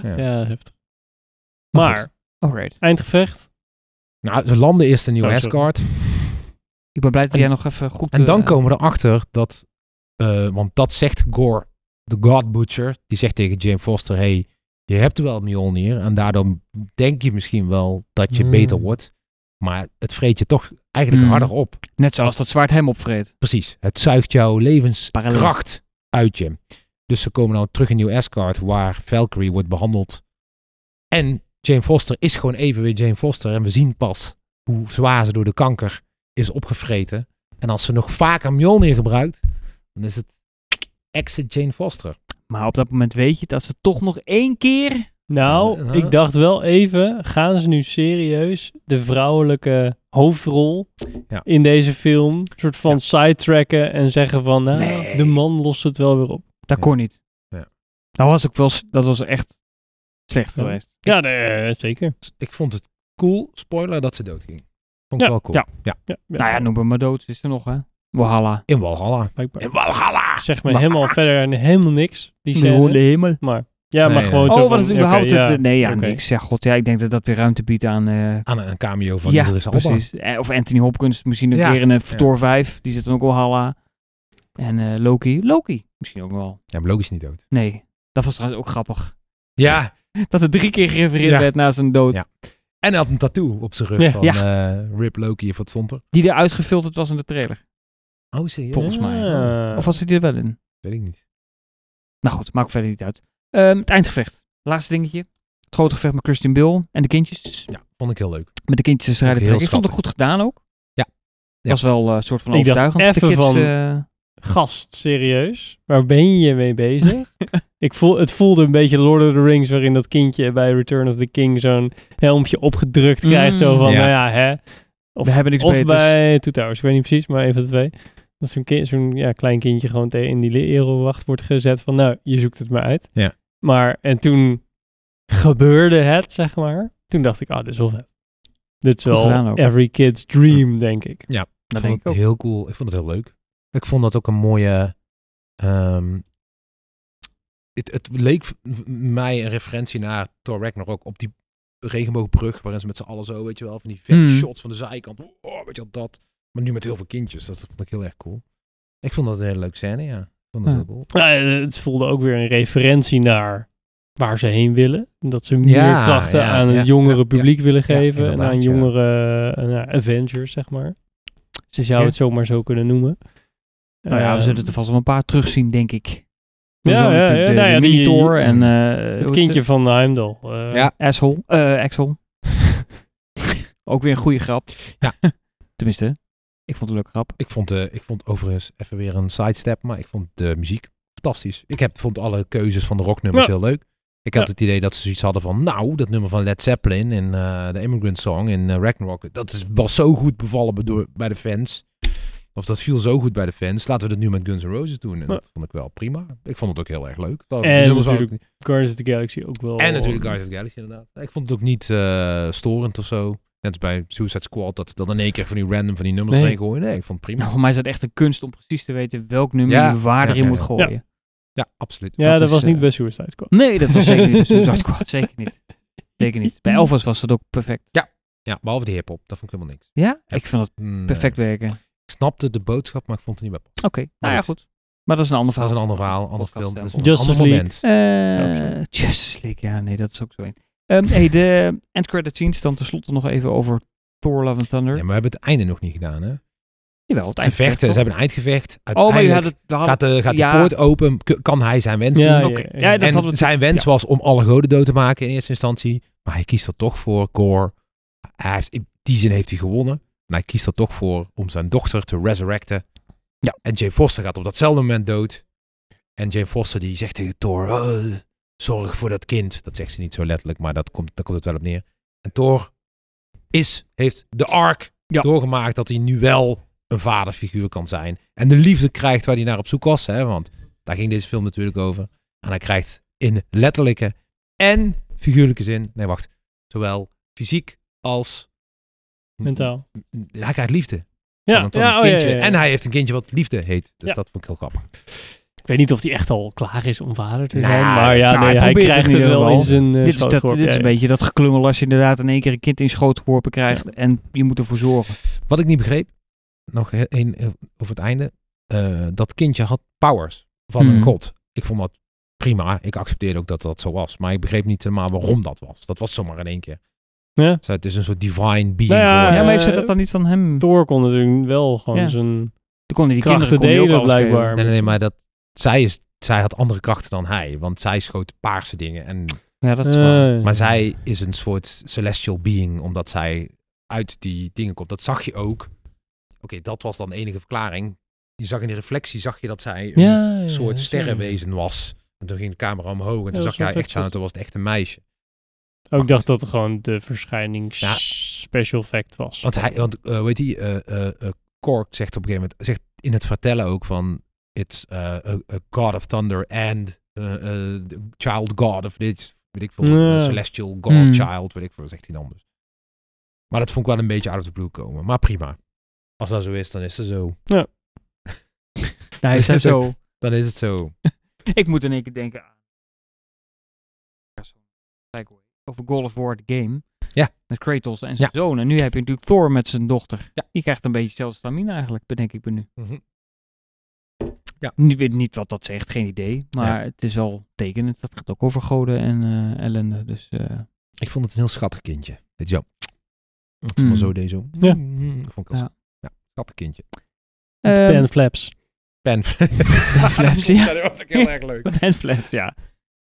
Ja.
Ja, heftig.
Maar
Maar,
Alright.
eindgevecht.
Nou, ze landen eerst in New
Oh, sorry.
Asgard.
Ik ben blij dat
En-
jij nog even goed...
En dan
eh,
komen we erachter dat, eh, want dat zegt Gore, de God Butcher, die zegt tegen Jane Foster, hey, je hebt wel Mjolnir en daardoor denk je misschien wel dat je
Hmm.
beter wordt, maar het vreet je toch eigenlijk
Hmm.
harder op.
Net zoals dat zwaard hem opvreet.
Precies, het zuigt jouw
Parallel.
levenskracht uit je. Dus ze komen nou terug in New Asgard, waar Valkyrie wordt behandeld. En Jane Foster is gewoon even weer Jane Foster. En we zien pas hoe zwaar ze door de kanker is opgevreten. En als ze nog vaker Mjolnir gebruikt, dan is het exit Jane Foster.
Maar op dat moment weet je dat ze toch nog één keer...
Nou,
Eh,
ik dacht wel even, gaan ze nu serieus de vrouwelijke hoofdrol
Ja.
in deze film een soort van sidetracken en zeggen van, nou,
Nee.
de man lost het wel weer op.
Dat
Ja.
kon niet.
Ja.
Dat was ook wel... s- Dat was echt slecht
Ja.
geweest.
Ja, nee, zeker.
Dus Ik vond het cool, spoiler, dat ze doodging. Vond ik
Ja,
wel cool.
ja.
Ja, ja.
Nou ja, noem hem maar dood. Is er nog, hè? Walhalla.
In Walhalla.
Blijkbaar.
In Walhalla!
Zeg me
Maar-
helemaal verder en helemaal niks. Die scène.
hemel.
Maar ja,
Nee,
maar
ja.
gewoon zo.
Oh,
van,
was het
oké,
überhaupt...
ja.
het- nee, ja,
Oké.
niks. Ja, god. Ja, ik denk dat dat weer ruimte biedt aan... eh,
Aan een cameo van
ja,
Idris Elba.
precies. Eh, Of Anthony Hopkins misschien een
Ja.
keer in een Thor 5. Die zit dan ook wel halla. En eh, Loki. Loki misschien ook wel.
Ja, maar logisch niet dood.
Nee, dat was trouwens ook grappig.
Ja,
Dat er drie keer gerefereerd
Ja.
werd na zijn dood.
Ja. en hij had een tattoo op zijn rug
Ja.
van eh, Rip Loki of wat stond er?
Die er uitgefilterd was in de trailer.
Oh, serieus?
Volgens mij.
Ja.
Of was die er wel in?
Weet ik niet.
Nou goed, maakt verder niet uit. Ehm, het eindgevecht. Laatste dingetje. Het grote gevecht met Christian Bill en de kindjes.
Ja, vond ik heel leuk.
Met de kindjes te strijden.
Ook heel
trekken. Ik vond het goed gedaan ook.
Ja. Ja.
Was wel eh, een soort van
Ik dacht
overtuigend. dat de
even
kids,
van-
eh,
Gast, serieus? Waar ben je mee bezig? ik voel, het voelde een beetje Lord of the Rings, waarin dat kindje bij Return of the King zo'n helmpje opgedrukt krijgt. Zo
Mm.
van,
Ja.
nou ja, hè. Of,
we hebben niks
of
beters.
bij Two Towers, ik weet niet precies, maar een van de twee. Dat zo'n kind, zo'n ja, klein kindje gewoon tegen in die lerenwacht wordt gezet van, nou, je zoekt het maar uit.
Ja.
Maar, en toen gebeurde het, zeg maar. Toen dacht ik, ah, dit is wel vet. Dit is
Goed gedaan
wel
ook.
every kid's dream, denk ik.
Dat
ik vond
denk ik
het
ook.
heel cool. Ik vond het heel leuk. Ik vond dat ook een mooie. ehm, het, het leek v- v- mij een referentie naar Thor Ragnarok op die regenboogbrug waarin ze met z'n allen zo, weet je wel, van die vette
Mm.
shots van de zijkant. Oh, weet je wel, dat. Maar nu met heel veel kindjes. Dat vond ik heel erg cool. Ik vond dat een hele leuke scène, ja. Ik vond dat
Ja.
heel cool.
Ja, eh, het voelde ook weer een referentie naar waar ze heen willen. Dat ze meer
Ja,
krachten
ja,
aan het
ja,
jongere
ja,
publiek willen geven. en
inderdaad,
aan
ja.
jongere eh, nou, Avengers, zeg maar. Ze zou
Ja.
het zomaar zo kunnen noemen.
Nou ja, we
Eh,
zullen er vast wel een paar terugzien, denk ik.
Ja,
Zo met
ja,
de,
ja,
de,
nou ja, die-
Minotaur en... eh, hoe
het
heet
kindje van Heimdall. eh,
Ja.
Asshole. Eh, Axel. ook weer een goede grap.
Ja.
Tenminste, ik vond het een leuke grap.
Ik vond, eh, ik vond overigens even weer een sidestep, maar ik vond de muziek fantastisch. Ik heb, vond alle keuzes van de rocknummers
Ja.
heel leuk. Ik had
Ja.
het idee dat ze zoiets hadden van, nou, dat nummer van Led Zeppelin en eh de Immigrant Song en eh, Ragnarok, dat is, was zo goed bevallen door, bij de fans. Of dat viel zo goed bij de fans. Laten we dat nu met Guns N' Roses doen. En
Ja.
dat vond ik wel prima. Ik vond het ook heel erg leuk. Dat-
En
de nummers waren
natuurlijk- Guardians of the Galaxy ook wel. eh,
ook- en natuurlijk Guardians of the Galaxy inderdaad. Ik vond het ook niet eh, storend of zo. Net als bij Suicide Squad, dat ze dan in één keer van die random van die nummers
Nee.
erin gooien. Nee, ik vond het prima.
Nou, voor mij is dat echt een kunst om precies te weten welk nummer
Ja,
je waar
ja,
erin
ja,
moet
ja.
gooien.
Ja, absoluut.
Ja, dat,
Dat is,
was niet
eh,
bij Suicide Squad.
Nee, dat was zeker niet. bij Suicide Squad, zeker niet. Zeker niet. Bij Elvis was dat ook perfect.
Ja, behalve die hip-hop. Dat vond ik helemaal niks.
Ja? Ik vind dat
Mm,
perfect werken. Oké.
eh, ik snapte de boodschap, maar ik vond het niet bij.
Nou ja,
goed.
goed. Maar dat is een ander
Dat
verhaal.
is een ander verhaal, een ander film.
Podcast,
Dus
ja.
een ander
Justice
moment.
Eh,
Ja, absoluut.
Justice League, ja, nee, dat is ook zo een. Ehm, hey, de end credit scenes dan tenslotte nog even over Thor Love and Thunder.
Ja, maar we hebben het einde nog niet gedaan, hè?
Jawel, het
ze vechten, ze
eindgevecht,
hebben een eindgevecht.
toch? Oh, maar je
Uiteindelijk
had het... we hadden-
gaat de, gaat de
ja.
poort open, k- kan hij zijn wens doen.
Ja,
Oké. Ja, dat hadden
en
we...
zijn wens was om alle goden dood te maken in eerste instantie. Maar hij kiest er toch voor, Gore. Hij heeft, in die zin heeft hij gewonnen. Maar hij kiest er toch voor om zijn dochter te resurrecten. Ja. En Jane Foster gaat op datzelfde moment dood. En Jane Foster die zegt tegen Thor, "Eh, zorg voor dat kind. Dat zegt ze niet zo letterlijk, maar dat komt, daar komt het wel op neer. En Thor is, heeft de arc
Ja.
doorgemaakt dat hij nu wel een vaderfiguur kan zijn. En de liefde krijgt waar hij naar op zoek was. Hè, want daar ging deze film natuurlijk over. En hij krijgt in letterlijke en figuurlijke zin, nee wacht, zowel fysiek als
Mentaal.
Hij krijgt liefde.
Ja,
van een- van
ja,
een
oh, ja,
kindje.
ja, ja.
En hij heeft een kindje wat liefde heet. Dus
Ja.
dat vond ik heel grappig.
Ik weet niet of hij echt al klaar is om vader te
Nou,
zijn. Maar ja,
nou,
nee,
hij
hij
probeert het
krijgt
in
het
ieder
wel
geval.
in zijn eh,
dit, is
schoot
dat,
geworpen.
dit is een
Ja, ja.
beetje dat geklungel als je inderdaad in één keer een kind in schoot geworpen krijgt en je moet ervoor zorgen.
Wat ik niet begreep, nog he- één eh, over het einde. eh, dat kindje had powers van een
Mhm.
Hmm.
god. Ik vond dat prima. Ik accepteerde ook dat dat zo was. Maar ik begreep niet helemaal waarom dat was. Dat was zomaar in één keer.
Ja.
Zo, het is een soort divine being
Nou ja,
geworden.
ja, maar heeft ze
eh,
dat dan niet van hem? Toen
Thor kon natuurlijk wel gewoon
Ja.
zijn
konden die
krachten
kinderen kon die ook
delen
alles geven.
blijkbaar.
Nee, nee, nee, maar dat, zij, is, zij had andere krachten dan hij. Want zij schoot paarse dingen. En,
Ja, dat is
Eh,
waar.
maar zij is een soort celestial being, omdat zij uit die dingen komt. Dat zag je ook. Oké, dat was dan de enige verklaring. Je zag in die reflectie zag je dat zij een
ja, ja,
soort
ja,
sterrenwezen was. En toen ging de camera omhoog en toen
dat
zag
is wel
jij
vet
echt staan en
shot.
toen was het echt een meisje.
Ook dacht dat het gewoon de verschijning
Ja.
special effect was.
Want hij, want eh, weet die, eh eh, eh, Cork zegt op een gegeven moment, zegt in het vertellen ook van, it's eh, a, a god of thunder and eh, eh, the child god of dit, weet ik veel,
Ja.
eh, celestial god
Hmm.
child, weet ik veel, zegt hij dan dus. Maar dat vond ik wel een beetje out of the blue komen, maar prima. Als dat zo is, dan is het zo.
Nee, hij zei zo.
Dan is het zo.
Ik moet in één keer denken aan. Ja, zo'n segue. Over Call of War, de game.
Ja.
Met Kratos en zijn
Ja.
zoon. En nu heb je natuurlijk Thor met zijn dochter.
Ja.
Die krijgt een beetje hetzelfde stamina eigenlijk, bedenk ik me nu.
Mhm.
Niet, weet niet wat dat zegt, geen idee. Maar het is al tekenend. Dat gaat ook over goden en eh, ellende. Dus eh,
Ik vond het een heel schattig kindje. Dit zo. Het is
Hmm.
maar zo deze. zo.
Ja. Ehm,
Mm, Dat vond ik als
Ja.
ja. schattig kindje.
ehm,
Pen flaps.
Pen.
Flaps, ja.
Dat was ook heel erg leuk.
Bandflaps, ja.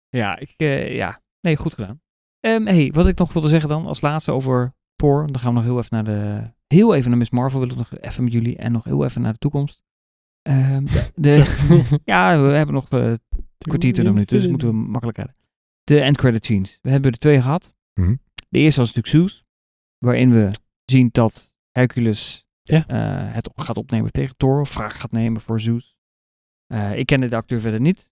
Ja, ik, eh, ja. Nee, goed gedaan. Ehm, hey, wat ik nog wilde zeggen dan als laatste over Thor. Dan gaan we nog heel even naar de... Heel even naar Miss Marvel wil ik nog even met jullie. En nog heel even naar de toekomst. Ehm, de, de- ja, we hebben nog eh, een kwartier te doen, dus moeten we makkelijk hebben. De end credit scenes. We hebben er twee gehad.
Mhm.
De eerste was natuurlijk Zeus, waarin we zien dat Hercules
Ja.
eh, het op- gaat opnemen tegen Thor, of vraag gaat nemen voor Zeus. Eh, ik kende de acteur verder niet.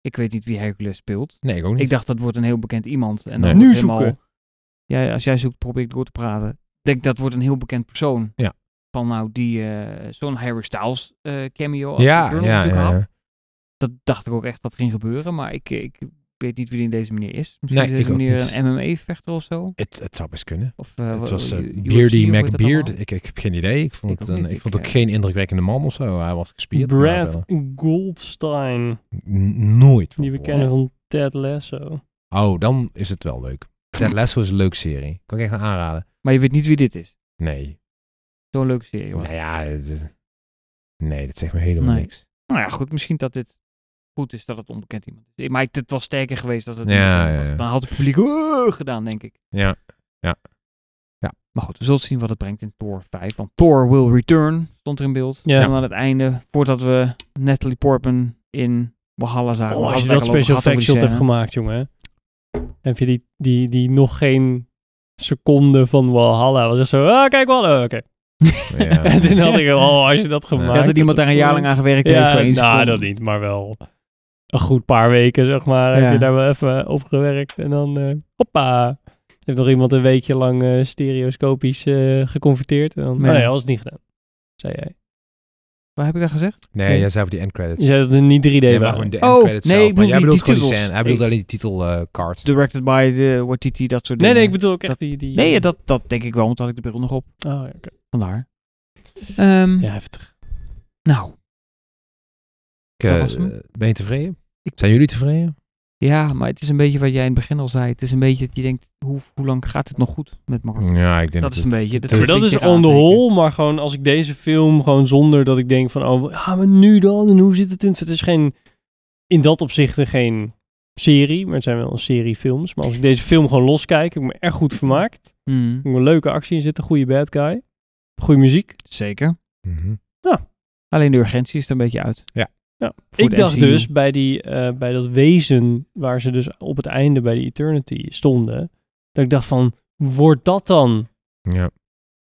Ik weet niet wie Hercules speelt.
Nee, ik ook niet.
Ik dacht dat wordt een heel bekend iemand. En
Nee.
dan wordt
Nu
helemaal-
zoeken.
Ja, als jij zoekt, probeer ik door te praten. Ik denk dat wordt een heel bekend persoon.
Ja.
Van nou, die eh, zo'n Harry Styles eh, cameo. als
ja,
die Eternals
ja,
natuurlijk
ja,
had.
ja.
Dat dacht ik ook echt dat ging gebeuren, maar ik, ik weet niet wie die in deze manier is. Misschien
Nee,
is deze
ik ook
manier
niet.
een MMA-vechter of zo.
Het, het zou best kunnen.
Of, eh,
het
wat-
was eh,
U- UFC,
Beardy
hoe heet dat
McBeard.
allemaal?
Ik, ik heb geen idee. Ik vond
Ik
het
ook
een,
niet.
ik vond
Ik,
ook
eh,
geen indrukwekkende man of zo. Hij was gespierd. maar
Brad
verder
Goldstein,
n- Nooit.
die we kennen van Ted Lasso.
Oh, dan is het wel leuk. Ted Lasso is een leuke serie. Kan ik echt aanraden.
Maar je weet niet wie dit is.
Nee.
Zo'n leuke serie. was.
Nou ja, het is- nee, dat zegt me helemaal
Nee.
niks.
Nou ja, goed, misschien dat dit goed is dat het onbekend iemand is. Maar ik, het was sterker geweest als het
Ja,
onbekend
ja,
was.
ja.
Dan had het publiek "Oeh" gedaan, denk ik.
Ja.
Maar goed, we zullen zien wat het brengt in Thor 5. Want Thor will return, stond er in beeld.
Ja.
En aan het einde, voordat we Natalie Portman in Valhalla zagen.
Oh, als je
we hadden het
dat
daar al over
special
gehad, over
effect
die
shot hebt
scène.
gemaakt, jongen. Heb je die, die, die nog geen seconde van Walhalla. Was echt zo, ah, kijk wel, oké.
ja.
En toen had ik, oh, als je dat gemaakt
Ja, dat
had,
iemand daar een jaar lang aan gewerkt heeft voor
Ja,
één
nou,
seconde.
dat niet, maar wel een goed paar weken, zeg maar.
Ja.
Heb je daar wel even op gewerkt en dan, eh, hoppa. Heeft nog iemand een weekje lang eh, stereoscopisch eh, geconverteerd? En dan,
Nee.
Oh nee, dat was het niet gedaan, zei jij.
Wat heb ik daar gezegd?
Nee, jij zei over die end credits.
Je zei dat het niet 3D
Nee, maar
waren.
gewoon de
Oh,
end credits
nee,
zelf.
ik
Maar
bedoel
jij
die-
bedoelt
die
gewoon die
titels.
scène. Hij bedoelt
Ik-
alleen die eh, titelkaart.
Directed by de Watiti, dat soort
Nee,
dingen.
nee, ik bedoel ook echt
Dat-
die... die
Nee, dat, dat denk ik wel, want dan had ik de bril nog op.
Oh, ja, oké.
Vandaar. Ehm,
Ja, heftig.
Nou, dat was hem.
eh, ben je tevreden?
Ik-
Zijn jullie tevreden?
ja, maar het is een beetje wat jij in het begin al zei. Het is een beetje dat je denkt, hoe, hoe lang gaat het nog goed met Marvel?
Ja, ik denk
Dat is een beetje... is
dat-
Maar
een
dat is
beetje
on the
aandenken.
whole, maar gewoon als ik deze film gewoon zonder dat ik denk van, oh, ja, maar nu dan, en hoe zit het in? Het is geen, in dat opzicht geen serie, maar het zijn wel een serie films. Maar als ik deze film gewoon loskijk, heb ik me erg goed vermaakt. Ik
Mm,
heb een leuke actie in zitten, goede bad guy, goede muziek.
zeker.
Mhm.
Alleen de urgentie is er een beetje uit. Voor
Ik
de
dacht
MCU.
dus bij, die, eh, bij dat wezen waar ze dus op het einde bij die Eternity stonden, dat ik dacht van, wordt dat dan
Ja.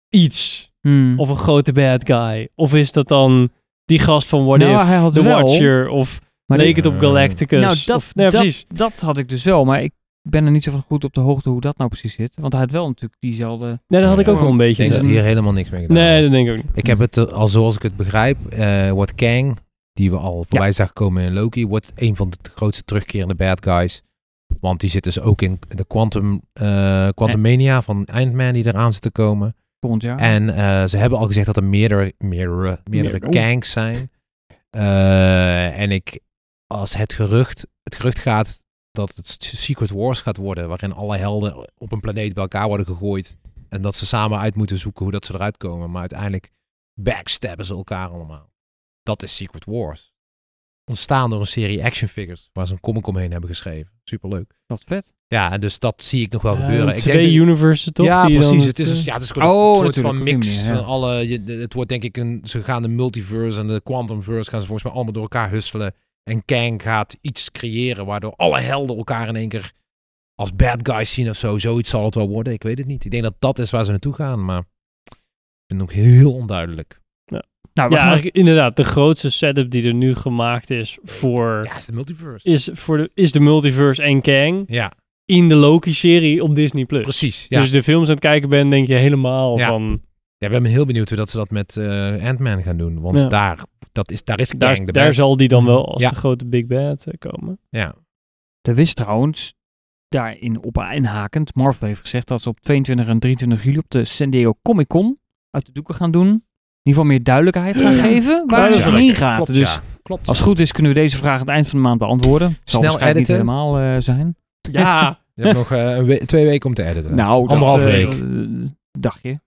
iets?
Mm.
Of een grote bad guy? Of is dat dan die gast van What
Nou,
If?
hij had
The
wel-
Watcher? Of
Maar die-
Naked op
Eh,
Galacticus?
nou, dat,
of, nee,
dat,
precies.
dat had ik dus wel, maar ik ben er niet zo van goed op de hoogte hoe dat nou precies zit. Want hij had wel natuurlijk diezelfde...
Nee, dat had ik
Ja.
ook wel een
Ik
beetje.
denk dat
Ja.
hier helemaal niks mee gedaan
nee,
wordt.
dat denk ik ook niet.
Ik heb het, eh, al zoals ik het begrijp, eh, wordt Kang, die we al voorbij zagen komen in Loki, wordt een van de t- grootste terugkerende bad guys. Want die zit dus ook in de Quantum, eh Quantum Mania van Ant-Man die eraan zit te komen.
Volgend jaar.
En eh, ze hebben al gezegd dat er meerdere, meerdere, meerdere
Meerdere, oeh.
Kangs zijn. Eh, en ik, als het gerucht, het gerucht gaat dat het Secret Wars gaat worden, waarin alle helden op een planeet bij elkaar worden gegooid. En dat ze samen uit moeten zoeken hoe dat ze eruit komen. Maar uiteindelijk backstabben ze elkaar allemaal. Dat is Secret Wars. Ontstaan door een serie action figures waar ze een comic omheen hebben geschreven. Superleuk.
Wat vet.
Ja, en dus dat zie ik nog wel
Ja,
gebeuren. Ik
twee
denk dat-
universes toch?
ja,
die dan
precies. het, is,
eh,
dus- ja, het is gewoon
Oh,
een soort
natuurlijk,
van
op die
mix
manier, ja.
van alle... je- de- het wordt denk ik een... Ze gaan de multiverse en de quantumverse gaan ze volgens mij allemaal door elkaar husselen. En Kang gaat iets creëren waardoor alle helden elkaar in één keer als bad guys zien of zo. Zoiets zal het wel worden. Ik weet het niet. Ik denk dat dat is waar ze naartoe gaan, maar ik vind het ook heel onduidelijk.
Nou, we
Ja,
gaan-
eigenlijk inderdaad. De grootste setup die er nu gemaakt is voor,
Ja, het is de multiverse.
is, voor de, is de multiverse en Kang
Ja,
in de Loki-serie op Disney+. Plus.
precies. Ja.
Dus als je de films aan het kijken bent, denk je helemaal
Ja.
van...
ja, ik ben heel benieuwd hoe dat ze dat met eh, Ant-Man gaan doen. Want
Ja.
daar, dat is, daar is Kang
Daar,
de
daar
bad- Mhm.
zal die dan wel als
Ja.
de grote Big Bad eh, komen.
Ja,
Er wist trouwens, daarin op inhakend, Marvel heeft gezegd dat ze op 22 en 23 juli op de San Diego Comic Con uit de doeken gaan doen. In ieder geval meer duidelijkheid gaan
Ja.
geven waar
Ja,
het
ja.
heen gaat.
Klopt,
dus
ja. Klopt.
als het goed is kunnen we deze vraag aan het eind van de maand beantwoorden. Zal
Snel
waarschijnlijk niet
editen.
helemaal eh, zijn.
Ja,
Je hebt nog eh, een we- twee weken om te editen.
Nou, dat,
Anderhalf
eh,
week.
eh, dacht je.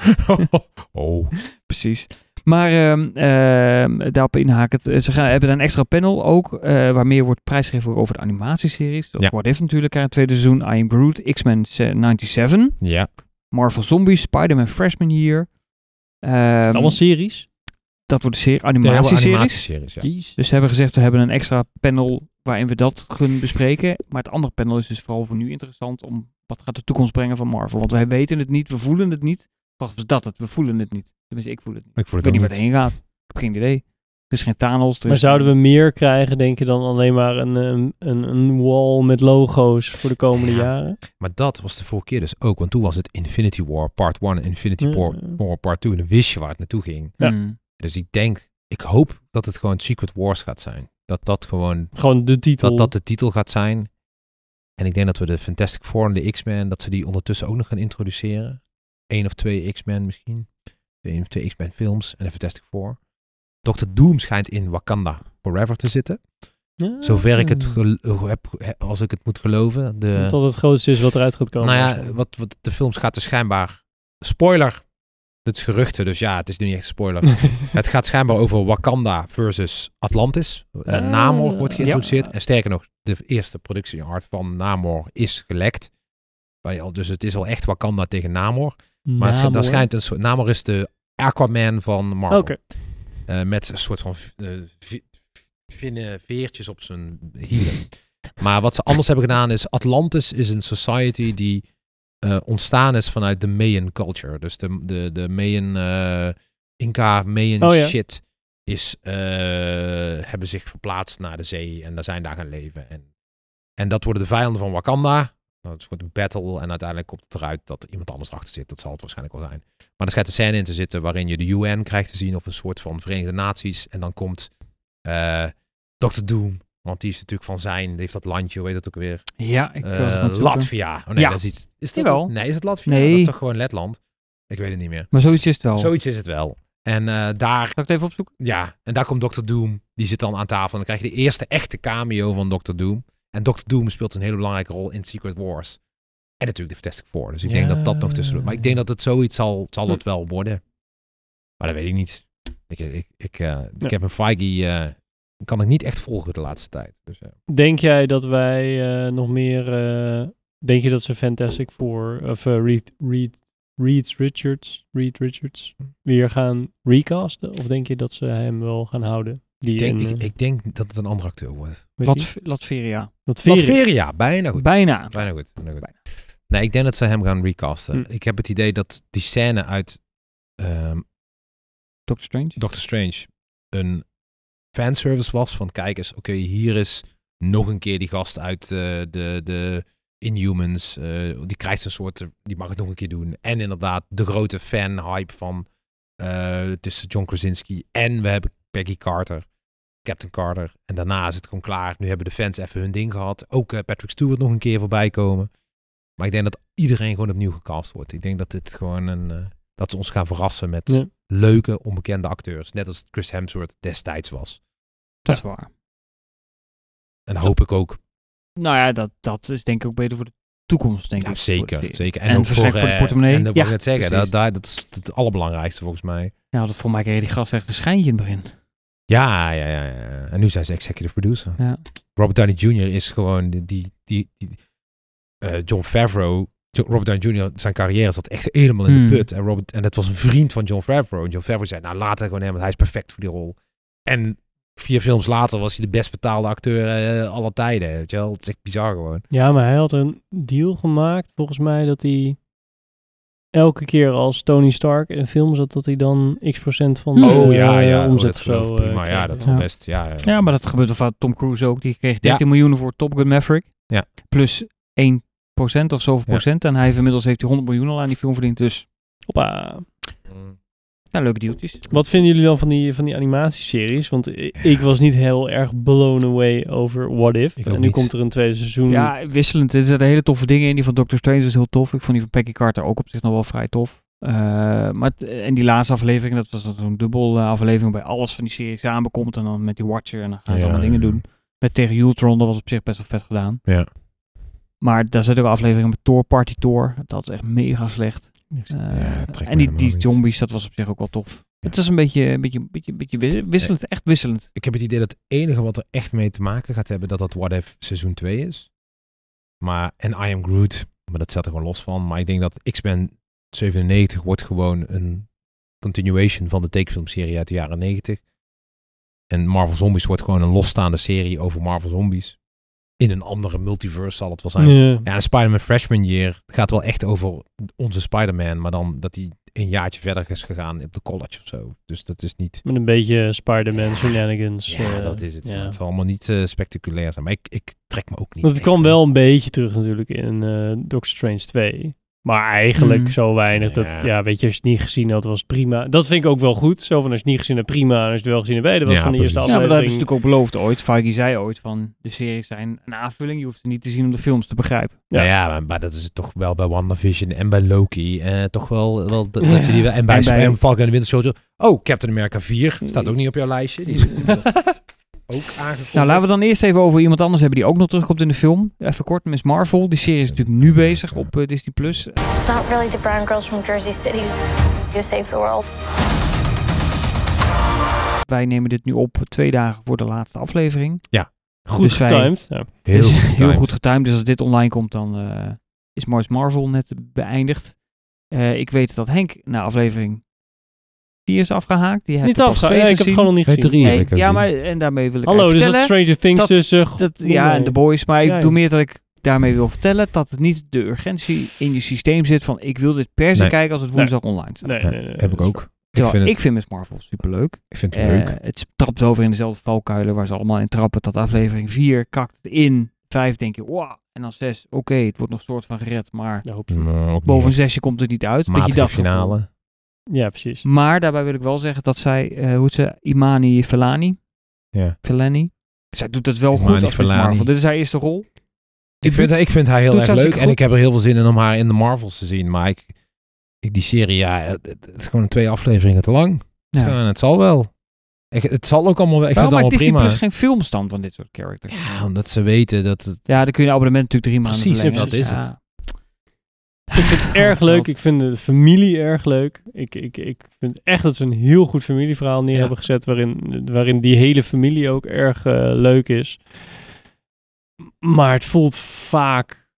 oh.
Precies. Maar ehm, ehm, daarop inhakend, eh, ze gaan, hebben daar een extra panel ook, eh, waar meer wordt prijsgegeven over de animatieseries. Dat
Ja.
What If natuurlijk, eh, het tweede seizoen, I Am Groot, X-Men eh, 97.
Ja.
Marvel Zombies, Spider-Man Freshman Year. Ehm,
allemaal series.
dat wordt de serie,
Ja, wel
animatieseries.
animatieseries, ja.
Jeez.
Dus ze hebben gezegd, we hebben een extra panel waarin we dat gaan bespreken. Maar het andere panel is dus vooral voor nu interessant om wat gaat de toekomst brengen van Marvel. Want wij weten het niet, we voelen het niet. Wacht, was dat het? We voelen het niet. Tenminste, ik voel het niet.
Ik voel
Ik
het
weet niet
ook
waar
niet.
het heen gaat. Ik heb geen idee. Er is geen Thanos. er
Maar
Dus-
is-
zouden we meer krijgen, denk je, dan alleen maar een, een, een, een wall met logo's voor de komende
Ja.
jaren?
Maar dat was de vorige keer dus ook. Want toen was het Infinity War Part 1 en Infinity
Mm.
Ja.
War, War Part 2. En dan wist je waar het naartoe ging.
Ja.
Hmm.
Dus ik denk, ik hoop dat het gewoon Secret Wars gaat zijn. Dat dat gewoon,
Gewoon de titel.
dat dat de titel gaat zijn. En ik denk dat we de Fantastic Four en de X-Men, dat ze die ondertussen ook nog gaan introduceren. Eén of twee X-Men misschien. Eén of twee X-Men films en de Fantastic Four. Dr. Doom schijnt in Wakanda Forever te zitten.
Ja.
Zover ik het gel- eh, heb, he- als ik het moet geloven. De,
Hmm. Dat dat het grootste is wat eruit gaat komen.
nou ja, wat, wat de films gaat er schijnbaar. Spoiler! Het is geruchten, dus ja, het is nu niet echt een spoiler. het gaat schijnbaar over Wakanda versus Atlantis. Eh,
Ah,
Namor wordt
ja.
geïntroduceerd. En sterker nog, de eerste productiehard van Namor is gelekt. Waar je al- Dus het is al echt Wakanda tegen Namor. Maar het, schijnt- daar
Namor.
schijnt een soort, Namor is de Aquaman van Marvel.
Oké.
Eh, met een soort van eh, vi- finne veertjes op zijn hielen. maar wat ze anders hebben gedaan is, Atlantis is een society die eh, ontstaan is vanuit de Mayan culture. Dus de, de, de Mayan, eh, Inca Mayan
Oh ja.
shit is, eh, hebben zich verplaatst naar de zee en daar zijn daar gaan leven. En, en dat worden de vijanden van Wakanda. Nou, het is gewoon een battle en uiteindelijk komt het eruit dat er iemand anders achter zit. Dat zal het waarschijnlijk wel zijn. Maar er schijnt een scène in te zitten waarin je de UN krijgt te zien of een soort van Verenigde Naties. En dan komt eh Dr. Doom, want die is natuurlijk van zijn, die heeft dat landje, hoe heet dat ook weer?
Ja, ik was het
Eh,
aan het zoeken.
Latvia. Oh nee,
Ja.
dat is iets. Is dat
Jawel.
Nee, is het Latvia?
Nee. Oh.
Dat is toch gewoon Letland? Ik weet het niet meer.
Maar zoiets is het wel.
Zoiets is het wel. En eh, daar,
Zal ik het even opzoeken?
ja, en daar komt Dr. Doom. Die zit dan aan tafel. En dan krijg je de eerste echte cameo van Dr. Doom. En Dr. Doom speelt een hele belangrijke rol in Secret Wars. En natuurlijk de Fantastic Four. Dus ik denk dat dat nog tussen doet. Maar ik denk dat het zoiets zal, zal
Hm.
het wel worden. Maar dat weet ik niet. Ik, ik, ik, eh,
Ja.
ik heb een Feige... eh, kan ik niet echt volgen de laatste tijd. Dus, eh,
Denk jij dat wij eh, nog meer... eh, denk je dat ze Fantastic Four... Of eh, Reed, Reed, Reed Richards... Reed Richards... Weer gaan recasten? Of denk je dat ze hem wel gaan houden? Die
ik, denk,
in,
ik,
eh,
ik denk dat het een andere acteur wordt.
weet je?
Lat Latveria.
Wat Veri-
Latveria, bijna goed.
Bijna.
Bijna goed. Bijna goed. Nee, ik denk dat ze hem gaan recasten.
Hm.
Ik heb het idee dat die scène uit... ehm,
Doctor Strange.
Doctor Strange een fanservice was van kijkers, oké, hier is nog een keer die gast uit eh, de, de Inhumans, eh, die krijgt een soort, eh, die mag het nog een keer doen. En inderdaad, de grote fan-hype van eh, tussen John Krasinski en we hebben Peggy Carter, Captain Carter. En daarna is het gewoon klaar. Nu hebben de fans even hun ding gehad. Ook eh, Patrick Stewart nog een keer voorbij komen. Maar ik denk dat iedereen gewoon opnieuw gecast wordt. Ik denk dat dit gewoon een, eh, dat ze ons gaan verrassen met
Ja.
leuke, onbekende acteurs. Net als Chris Hemsworth destijds was.
Dat is waar.
En hoop ik ook.
Nou ja, dat, dat is denk ik ook beter voor de toekomst, denk
Ja,
ik. voor
zeker,
de-
zeker.
En
ook
versterkt voor de
eh,
portemonnee.
En dat
Ja,
wil ik net zeggen. Dat,
precies.
daar- dat is het allerbelangrijkste volgens mij.
Nou, dat voor mij kreeg die gast echt een schijntje in het begin.
Ja, ja, ja, ja. En nu zijn ze executive producer.
Ja.
Robert Downey Jr. is gewoon die... die, die, die- eh, John Favreau... Jo- Robert Downey Jr. zijn carrière zat echt helemaal in
Hmm.
de put. En, Robert, en dat was een vriend van John Favreau. En John Favreau zei, nou laat het gewoon hem, want hij is perfect voor die rol. En vier films later was hij de best betaalde acteur eh, aller tijden. Weet je wel? Het is echt bizar gewoon.
Ja, maar hij had een deal gemaakt, volgens mij, dat hij elke keer als Tony Stark in een film zat, dat hij dan x procent van de
Oh ja,
eh,
ja. oh,
omzet
dat
of
geloof
zo.
ik
eh,
prima. Ja,
krijgt.
dat is
ja.
wel best. Ja, ja.
Ja, maar dat gebeurt toch vaak Tom Cruise ook. Die kreeg 13 miljoen voor Top Gun Maverick.
Ja.
Plus 1 procent of zoveel
Ja.
procent. En hij heeft inmiddels heeft hij 100 miljoen al aan die film verdiend. Dus
Hoppa.
Mm.
ja, leuke deeltjes.
Wat vinden jullie dan van die, van die animatieseries? Want i- ik was niet heel erg blown away over What If.
Ik ook
en nu
niet.
komt er een tweede seizoen.
Ja, wisselend. Er zitten hele toffe dingen in. Die van Doctor Strange is heel tof. Ik vond die van Peggy Carter ook op zich nog wel vrij tof. Eh, maar het- en die laatste aflevering, dat was dan zo'n dubbel eh, aflevering bij alles van die serie samenkomt. En dan met die Watcher en dan gaan ze
Ja,
allemaal dingen
ja.
doen. Met tegen Ultron, dat was op zich best wel vet gedaan.
Ja.
Maar daar zitten ook afleveringen met Thor Party Thor. Dat is echt mega slecht. Eh,
dat trekt
en
me
die,
helemaal
die
niet.
zombies, dat was op zich ook wel tof. Het is een beetje, een beetje, een beetje, een beetje wis- wisselend, echt wisselend.
Ik heb het idee dat het enige wat er echt mee te maken gaat hebben, dat dat What If seizoen 2 is. Maar, en I Am Groot, maar dat staat er gewoon los van. Maar ik denk dat X-Men 97 wordt gewoon een continuation van de tekenfilmserie uit de jaren 90. En Marvel Zombies wordt gewoon een losstaande serie over Marvel Zombies. In een andere multiverse zal het wel zijn.
Ja.
Ja, en Spider-Man Freshman Year gaat wel echt over onze Spider-Man, maar dan dat hij een jaartje verder is gegaan op de college of zo. Dus dat is niet
Met een beetje Spider-Man shenanigans.
ja,
eh,
dat is het.
ja.
Maar Het zal allemaal niet eh, spectaculair zijn. Maar ik, ik trek me ook niet.
Dat
echt,
kwam
eh,
wel een beetje terug natuurlijk in eh Doctor Strange 2. Maar eigenlijk
Mm.
zo weinig. Dat,
Hmm. Ja.
ja, weet je, als je het niet gezien had, was het prima. Dat vind ik ook wel goed. Zo van, als je het niet gezien hebt, prima. En als je het wel gezien hebt, hey, dat was
Ja,
van de eerste
precies.
Ja, maar dat hebben
aflevering.
ze natuurlijk ook beloofd ooit. Feige zei ooit van, de series zijn een aanvulling. Je hoeft ze niet te zien om de films te begrijpen.
nou Ja, maar, maar dat is het toch wel bij WandaVision en bij Loki. eh, toch wel, wel dat, dat je die wel. En bij,
En bij-
en Falcon en de Winter Soldier. Oh, Captain America 4 staat ook niet op jouw lijstje. Die is ook aangekomen.
Nou, laten we dan eerst even over iemand anders hebben die ook nog terugkomt in de film. Even kort, Miss Marvel. Die serie is natuurlijk nu bezig op eh, Disney+. Plus.
It's not really the brown girls from Jersey City who save the world.
Wij nemen dit nu op twee dagen voor de laatste aflevering.
Goed
dus wij-
getimed. Ja.
Heel
Dus
goed
heel
getimed.
goed getimed. Dus als dit online komt, dan eh, is Mars Marvel net beëindigd. Eh, ik weet dat Henk na aflevering 4 is afgehaakt. Die heeft
Niet
er pas
afgaan.
twee
Ja, ik heb het
gezien.
gewoon nog
Bij
niet gezien.
drie
Nee,
heb
ja,
ik gezien.
maar en daarmee wil ik
Hallo,
even
dus dat
vertellen
Stranger Things
dat-
dus... eh,
dat,
goed,
ja, en
nee.
de boys. Maar ik
Ja, ja.
doe meer dat ik daarmee wil vertellen dat het niet de urgentie in je systeem zit van ik wil dit per se
Nee.
kijken als het woensdag online staat.
Nee,
Ja,
nee, nee,
heb ik
dat is
ook. Ik
Terwijl
vind, het,
ik vind Miss Marvel superleuk.
ik vind het
Eh
leuk.
het trapt over in dezelfde valkuilen waar ze allemaal in trappen. Tot aflevering 4 kakt het in. 5 denk je, wow. En dan 6, oké, het wordt nog soort van gered. Maar
waar.
Maar Mm, ook niet
boven een
echt
6 komt het niet uit. Beetje
Matige
dat gevoel.
finale.
Ja, precies.
"Oh." Maar daarbij wil ik wel zeggen dat zij, eh, hoe heet ze, Imani Felani.
Ja.
Felani. Zij doet het wel
Imani
goed als Miss
Vellani.
Marvel. Dit is haar eerste rol.
Ik vind, ik vind haar heel
doet
erg
hartstikke
leuk. En
goed.
ik heb er heel veel zin in om haar in de Marvels te zien. Maar ik, ik, die serie, ja, het, het is gewoon twee afleveringen te lang.
Ja.
Ja, en het zal wel. Ik, het zal ook allemaal wel. Ik
Waarom maakt
vind het
Disney
allemaal
Plus
prima.
geen filmstand van dit soort characters?
Ja, omdat ze weten dat het...
Ja, dan kun je een abonnement natuurlijk drie maanden
Precies,
verlengen.
dat is
Ja.
Ik vind het erg leuk. Ik vind de familie erg leuk. Ik, ik, ik vind echt dat ze een heel goed familieverhaal neer
Ja.
hebben gezet. Waarin, waarin die hele familie ook erg eh, leuk is. Maar het voelt vaak.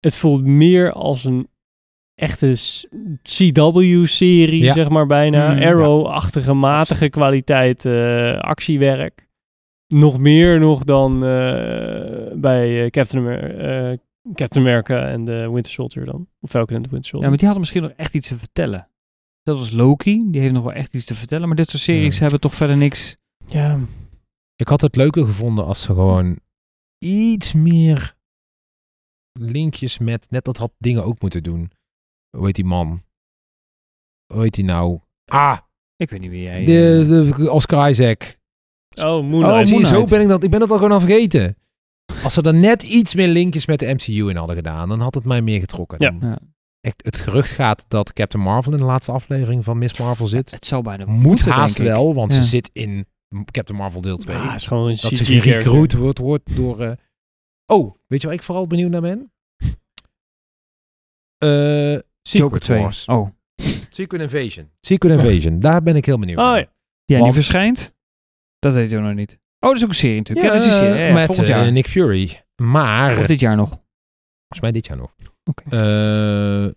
Het voelt meer als een echte s- CW-serie,
Ja.
zeg maar bijna.
Mm.
Arrow-achtige, matige kwaliteit eh, actiewerk. Nog meer nog dan eh, bij eh, Captain, Amer- eh, Captain America en de Winter Soldier dan. Of Falcon en de Winter
Ja,
Soldier.
maar die hadden misschien nog echt iets te vertellen. Dat was Loki, die heeft nog wel echt iets te vertellen. Maar dit soort series
Ja.
hebben toch verder niks.
ja.
Ik had het leuker gevonden als ze gewoon iets meer linkjes met... Net dat had dingen ook moeten doen. Hoe heet die man? Hoe heet die nou? Ah,
Ik weet niet wie jij... eh,
de, de Oscar Isaac.
Oh, Moon
Oh,
Knight.
Zie je, zo
Knight.
ben ik dat. Ik ben dat al gewoon al vergeten. Als ze daar net iets meer linkjes met de MCU in hadden gedaan, dan had het mij meer getrokken.
Ja.
Dan-
Ja.
Echt, het gerucht gaat dat Captain Marvel in de laatste aflevering van Miss Marvel zit.
het zou bijna
Moet
moeten,
haast
denk ik.
wel, want
Ja.
ze zit in Captain Marvel deel 2.
Ah, het is gewoon een
dat
CG
ze
character.
gerecruit wordt, wordt door... eh, Oh, weet je waar ik vooral benieuwd naar ben? Eh
Joker
Secret
2.
Wars.
Oh,
Secret Invasion. Secret Invasion, daar ben ik heel benieuwd
Oh
naar.
ja.
ja, die
Want-
verschijnt? Dat weet ik nog niet. Oh, dat is ook een serie natuurlijk. Ja,
Ja,
dat is een serie. Ja, ja,
met
volgend
eh,
jaar.
Nick Fury. Maar...
Of dit jaar nog.
Volgens mij dit jaar nog.
Oké.
Eh,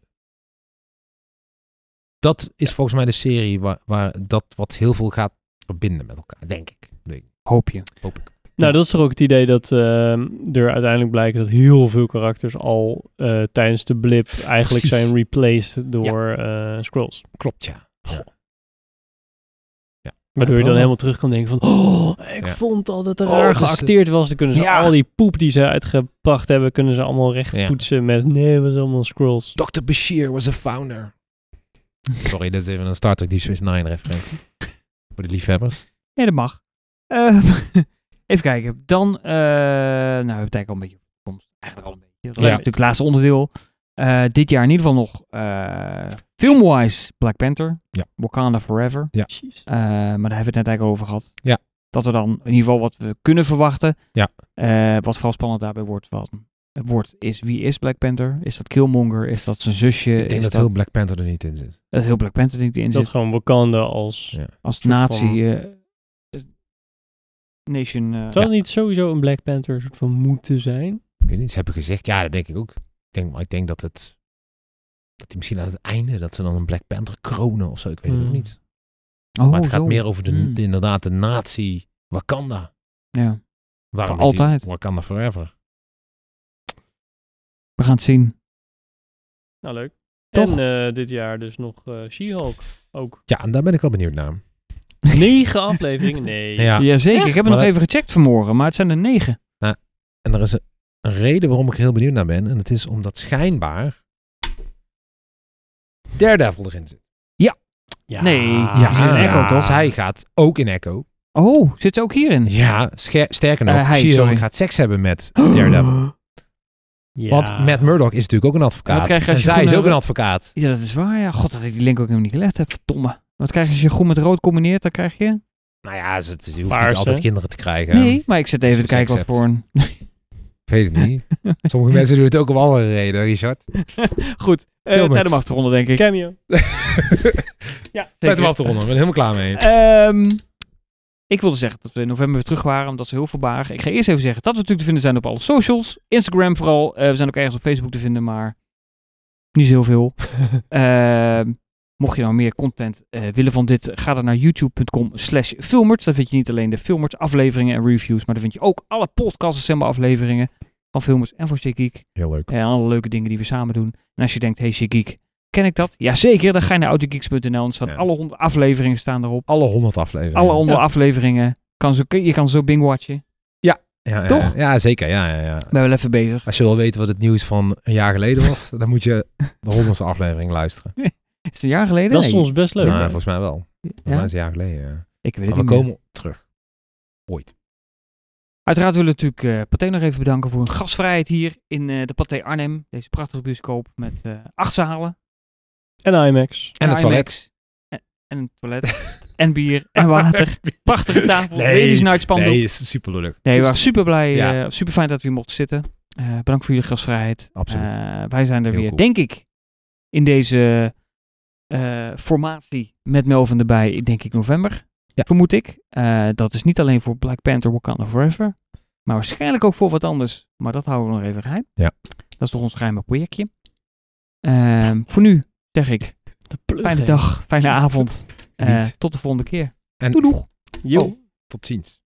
dat is volgens mij de serie waar, waar dat wat heel veel gaat verbinden met elkaar, denk ik. Nee,
Hoop je.
hoop ik.
Nou, dat is toch ook het idee dat ehm, er uiteindelijk blijkt dat heel veel karakters al eh, tijdens de blip eigenlijk
Precies.
zijn replaced door eh scrolls.
Klopt, ja.
Waardoor je
wel.
dan helemaal terug kan denken van, oh, ik
Ja.
vond al dat er
Oh,
raar
het is-
geacteerd was. Dan kunnen ze
Ja.
al die poep die ze uitgebracht hebben, kunnen ze allemaal recht
Ja.
poetsen met, nee, het was allemaal scrolls.
Dr. Bashir was a founder. Sorry, dit is even een Star Trek Deep Space Nine referentie. Voor de liefhebbers.
Nee, dat mag. Ehm, even kijken. Dan, eh, nou, we hebben het eigenlijk al een beetje op de komst. Eigenlijk al een beetje. Dat is
Ja.
natuurlijk het laatste onderdeel. Eh, dit jaar in ieder geval nog eh, filmwise Black Panther.
Ja.
Wakanda Forever.
Jeez.
Eh, maar daar hebben we het net eigenlijk al over gehad.
Ja.
Dat er dan in ieder geval wat we kunnen verwachten.
Ja.
Eh, wat vooral spannend daarbij wordt, wat, wordt, is wie is Black Panther? Is dat Killmonger? Is dat zijn zusje?
Ik denk
is
dat heel Black Panther er niet in zit.
dat heel Black Panther niet in
Dat
zit.
gewoon Wakanda als...
Ja.
Als
soort
nazi...
van-
eh, eh, nation... eh,
Zou het niet sowieso een Black Panther soort van moeten zijn?
Ik weet niet, ze hebben gezegd, ja, dat denk ik ook. Ik denk, maar ik denk dat het... Dat die misschien aan het einde, dat ze dan een Black Panther kronen of zo. Ik weet het
Hmm.
ook niet.
Oh,
Maar het gaat
zo.
meer over de,
Hmm.
de- inderdaad de nazi Wakanda.
Ja.
Waarom
Voor
heet die
altijd.
Wakanda Forever.
We gaan het zien.
Nou, leuk.
Toch?
En eh, dit jaar dus nog eh She-Hulk ook.
Ja, en daar ben ik wel benieuwd naar.
Negen afleveringen? Nee.
Ja,
Jazeker, ik heb het
Maar
nog
dat-
even gecheckt vanmorgen, maar het zijn er negen.
En er is een, een reden waarom ik heel benieuwd naar ben. En het is omdat schijnbaar Daredevil erin zit.
Nee,
Ja,
die zit in Echo toch?
Zij gaat ook in Echo.
Oh, zit ze ook hierin?
Ja, sche- sterker nog,
Eh, hij,
She-Hulk
sorry.
gaat seks hebben met Daredevil.
Ja.
Want Matt Murdock is natuurlijk ook een
Wat
advocaat.
krijg je
En
als je
zij is
gewoon
ook
een-
een advocaat.
Ja, dat is waar. Ja, god, dat ik die link ook helemaal niet gelegd heb. Verdomme. Wat krijg je als je groen met rood combineert? Dan krijg je...
Nou ja, ze, ze hoeft
Paars,
niet altijd
hè?
kinderen te krijgen.
Nee, maar ik zit even te kijken wat
Seksapps.
voor een...
Ik weet het niet. Sommige mensen doen het ook om andere redenen, Richard.
Goed, uh,
Filmers.
tijd om af te ronden, denk ik.
Cameo.
ja,
Tijd om af te ronden. Ik ben er helemaal klaar mee.
Ehm, ik wilde zeggen dat we in november weer terug waren, omdat ze heel veel bagen. Ik ga eerst even zeggen dat we natuurlijk te vinden zijn op alle socials. Instagram vooral. Eh, we zijn ook ergens op Facebook te vinden, maar niet zo heel veel. Ehm, mocht je nou meer content eh, willen van dit, ga dan naar youtube.com slash filmers. Daar vind je niet alleen de filmers afleveringen en reviews, maar daar vind je ook alle podcast december afleveringen van filmers en voor Sick Geek. eh,
Heel leuk.
En alle leuke dingen die we samen doen. En als je denkt, hey Sick Geek, ken ik dat? Jazeker, dan ga je naar autogeeks.nl en staan
Ja.
alle honderd afleveringen staan erop.
Alle 100 afleveringen.
Alle onder
Ja.
afleveringen. Kan zo, je kan zo bingwatchen.
ja, ja,
Toch?
Ja, zeker. Ja, ja, ja.
Ik ben wel even bezig.
Als je wil weten wat het nieuws van een jaar geleden was, dan moet je de honderdste aflevering luisteren.
Is het een jaar geleden?
Dat is
Nee.
soms best leuk.
Nou,
hè?
volgens mij wel. Volgens
Ja?
mij is het een jaar geleden. ja.
Ik weet het
Maar we
niet meer.
komen terug. Ooit.
Uiteraard willen we natuurlijk eh Pathé nog even bedanken voor hun gastvrijheid hier in eh, de Pathé Arnhem. Deze prachtige bioscoop met eh, acht zalen.
En IMAX.
En het
IMAX.
toilet.
En, en een toilet. en bier. En water. Prachtige tafel.
Nee.
Ladies Night spandoek.
Nee,
Nee,
is super leuk.
we waren super blij. eh,
Ja.
super fijn dat we hier mochten zitten. Eh, bedankt voor jullie gastvrijheid.
Absoluut.
Eh, wij zijn er
Heel
weer,
cool.
denk ik, in deze eh, formatie met Melvin erbij, denk ik, november.
Ja.
Vermoed ik. Eh, dat is niet alleen voor Black Panther Wakanda Forever, maar waarschijnlijk ook voor wat anders. Maar dat houden we nog even geheim.
Ja.
Dat is toch ons geheime projectje. Ehm, voor nu zeg ik, fijne dag, fijne avond. Eh,
Niet.
tot de volgende keer.
En
Doei doeg.
Yo.
Oh.
tot ziens.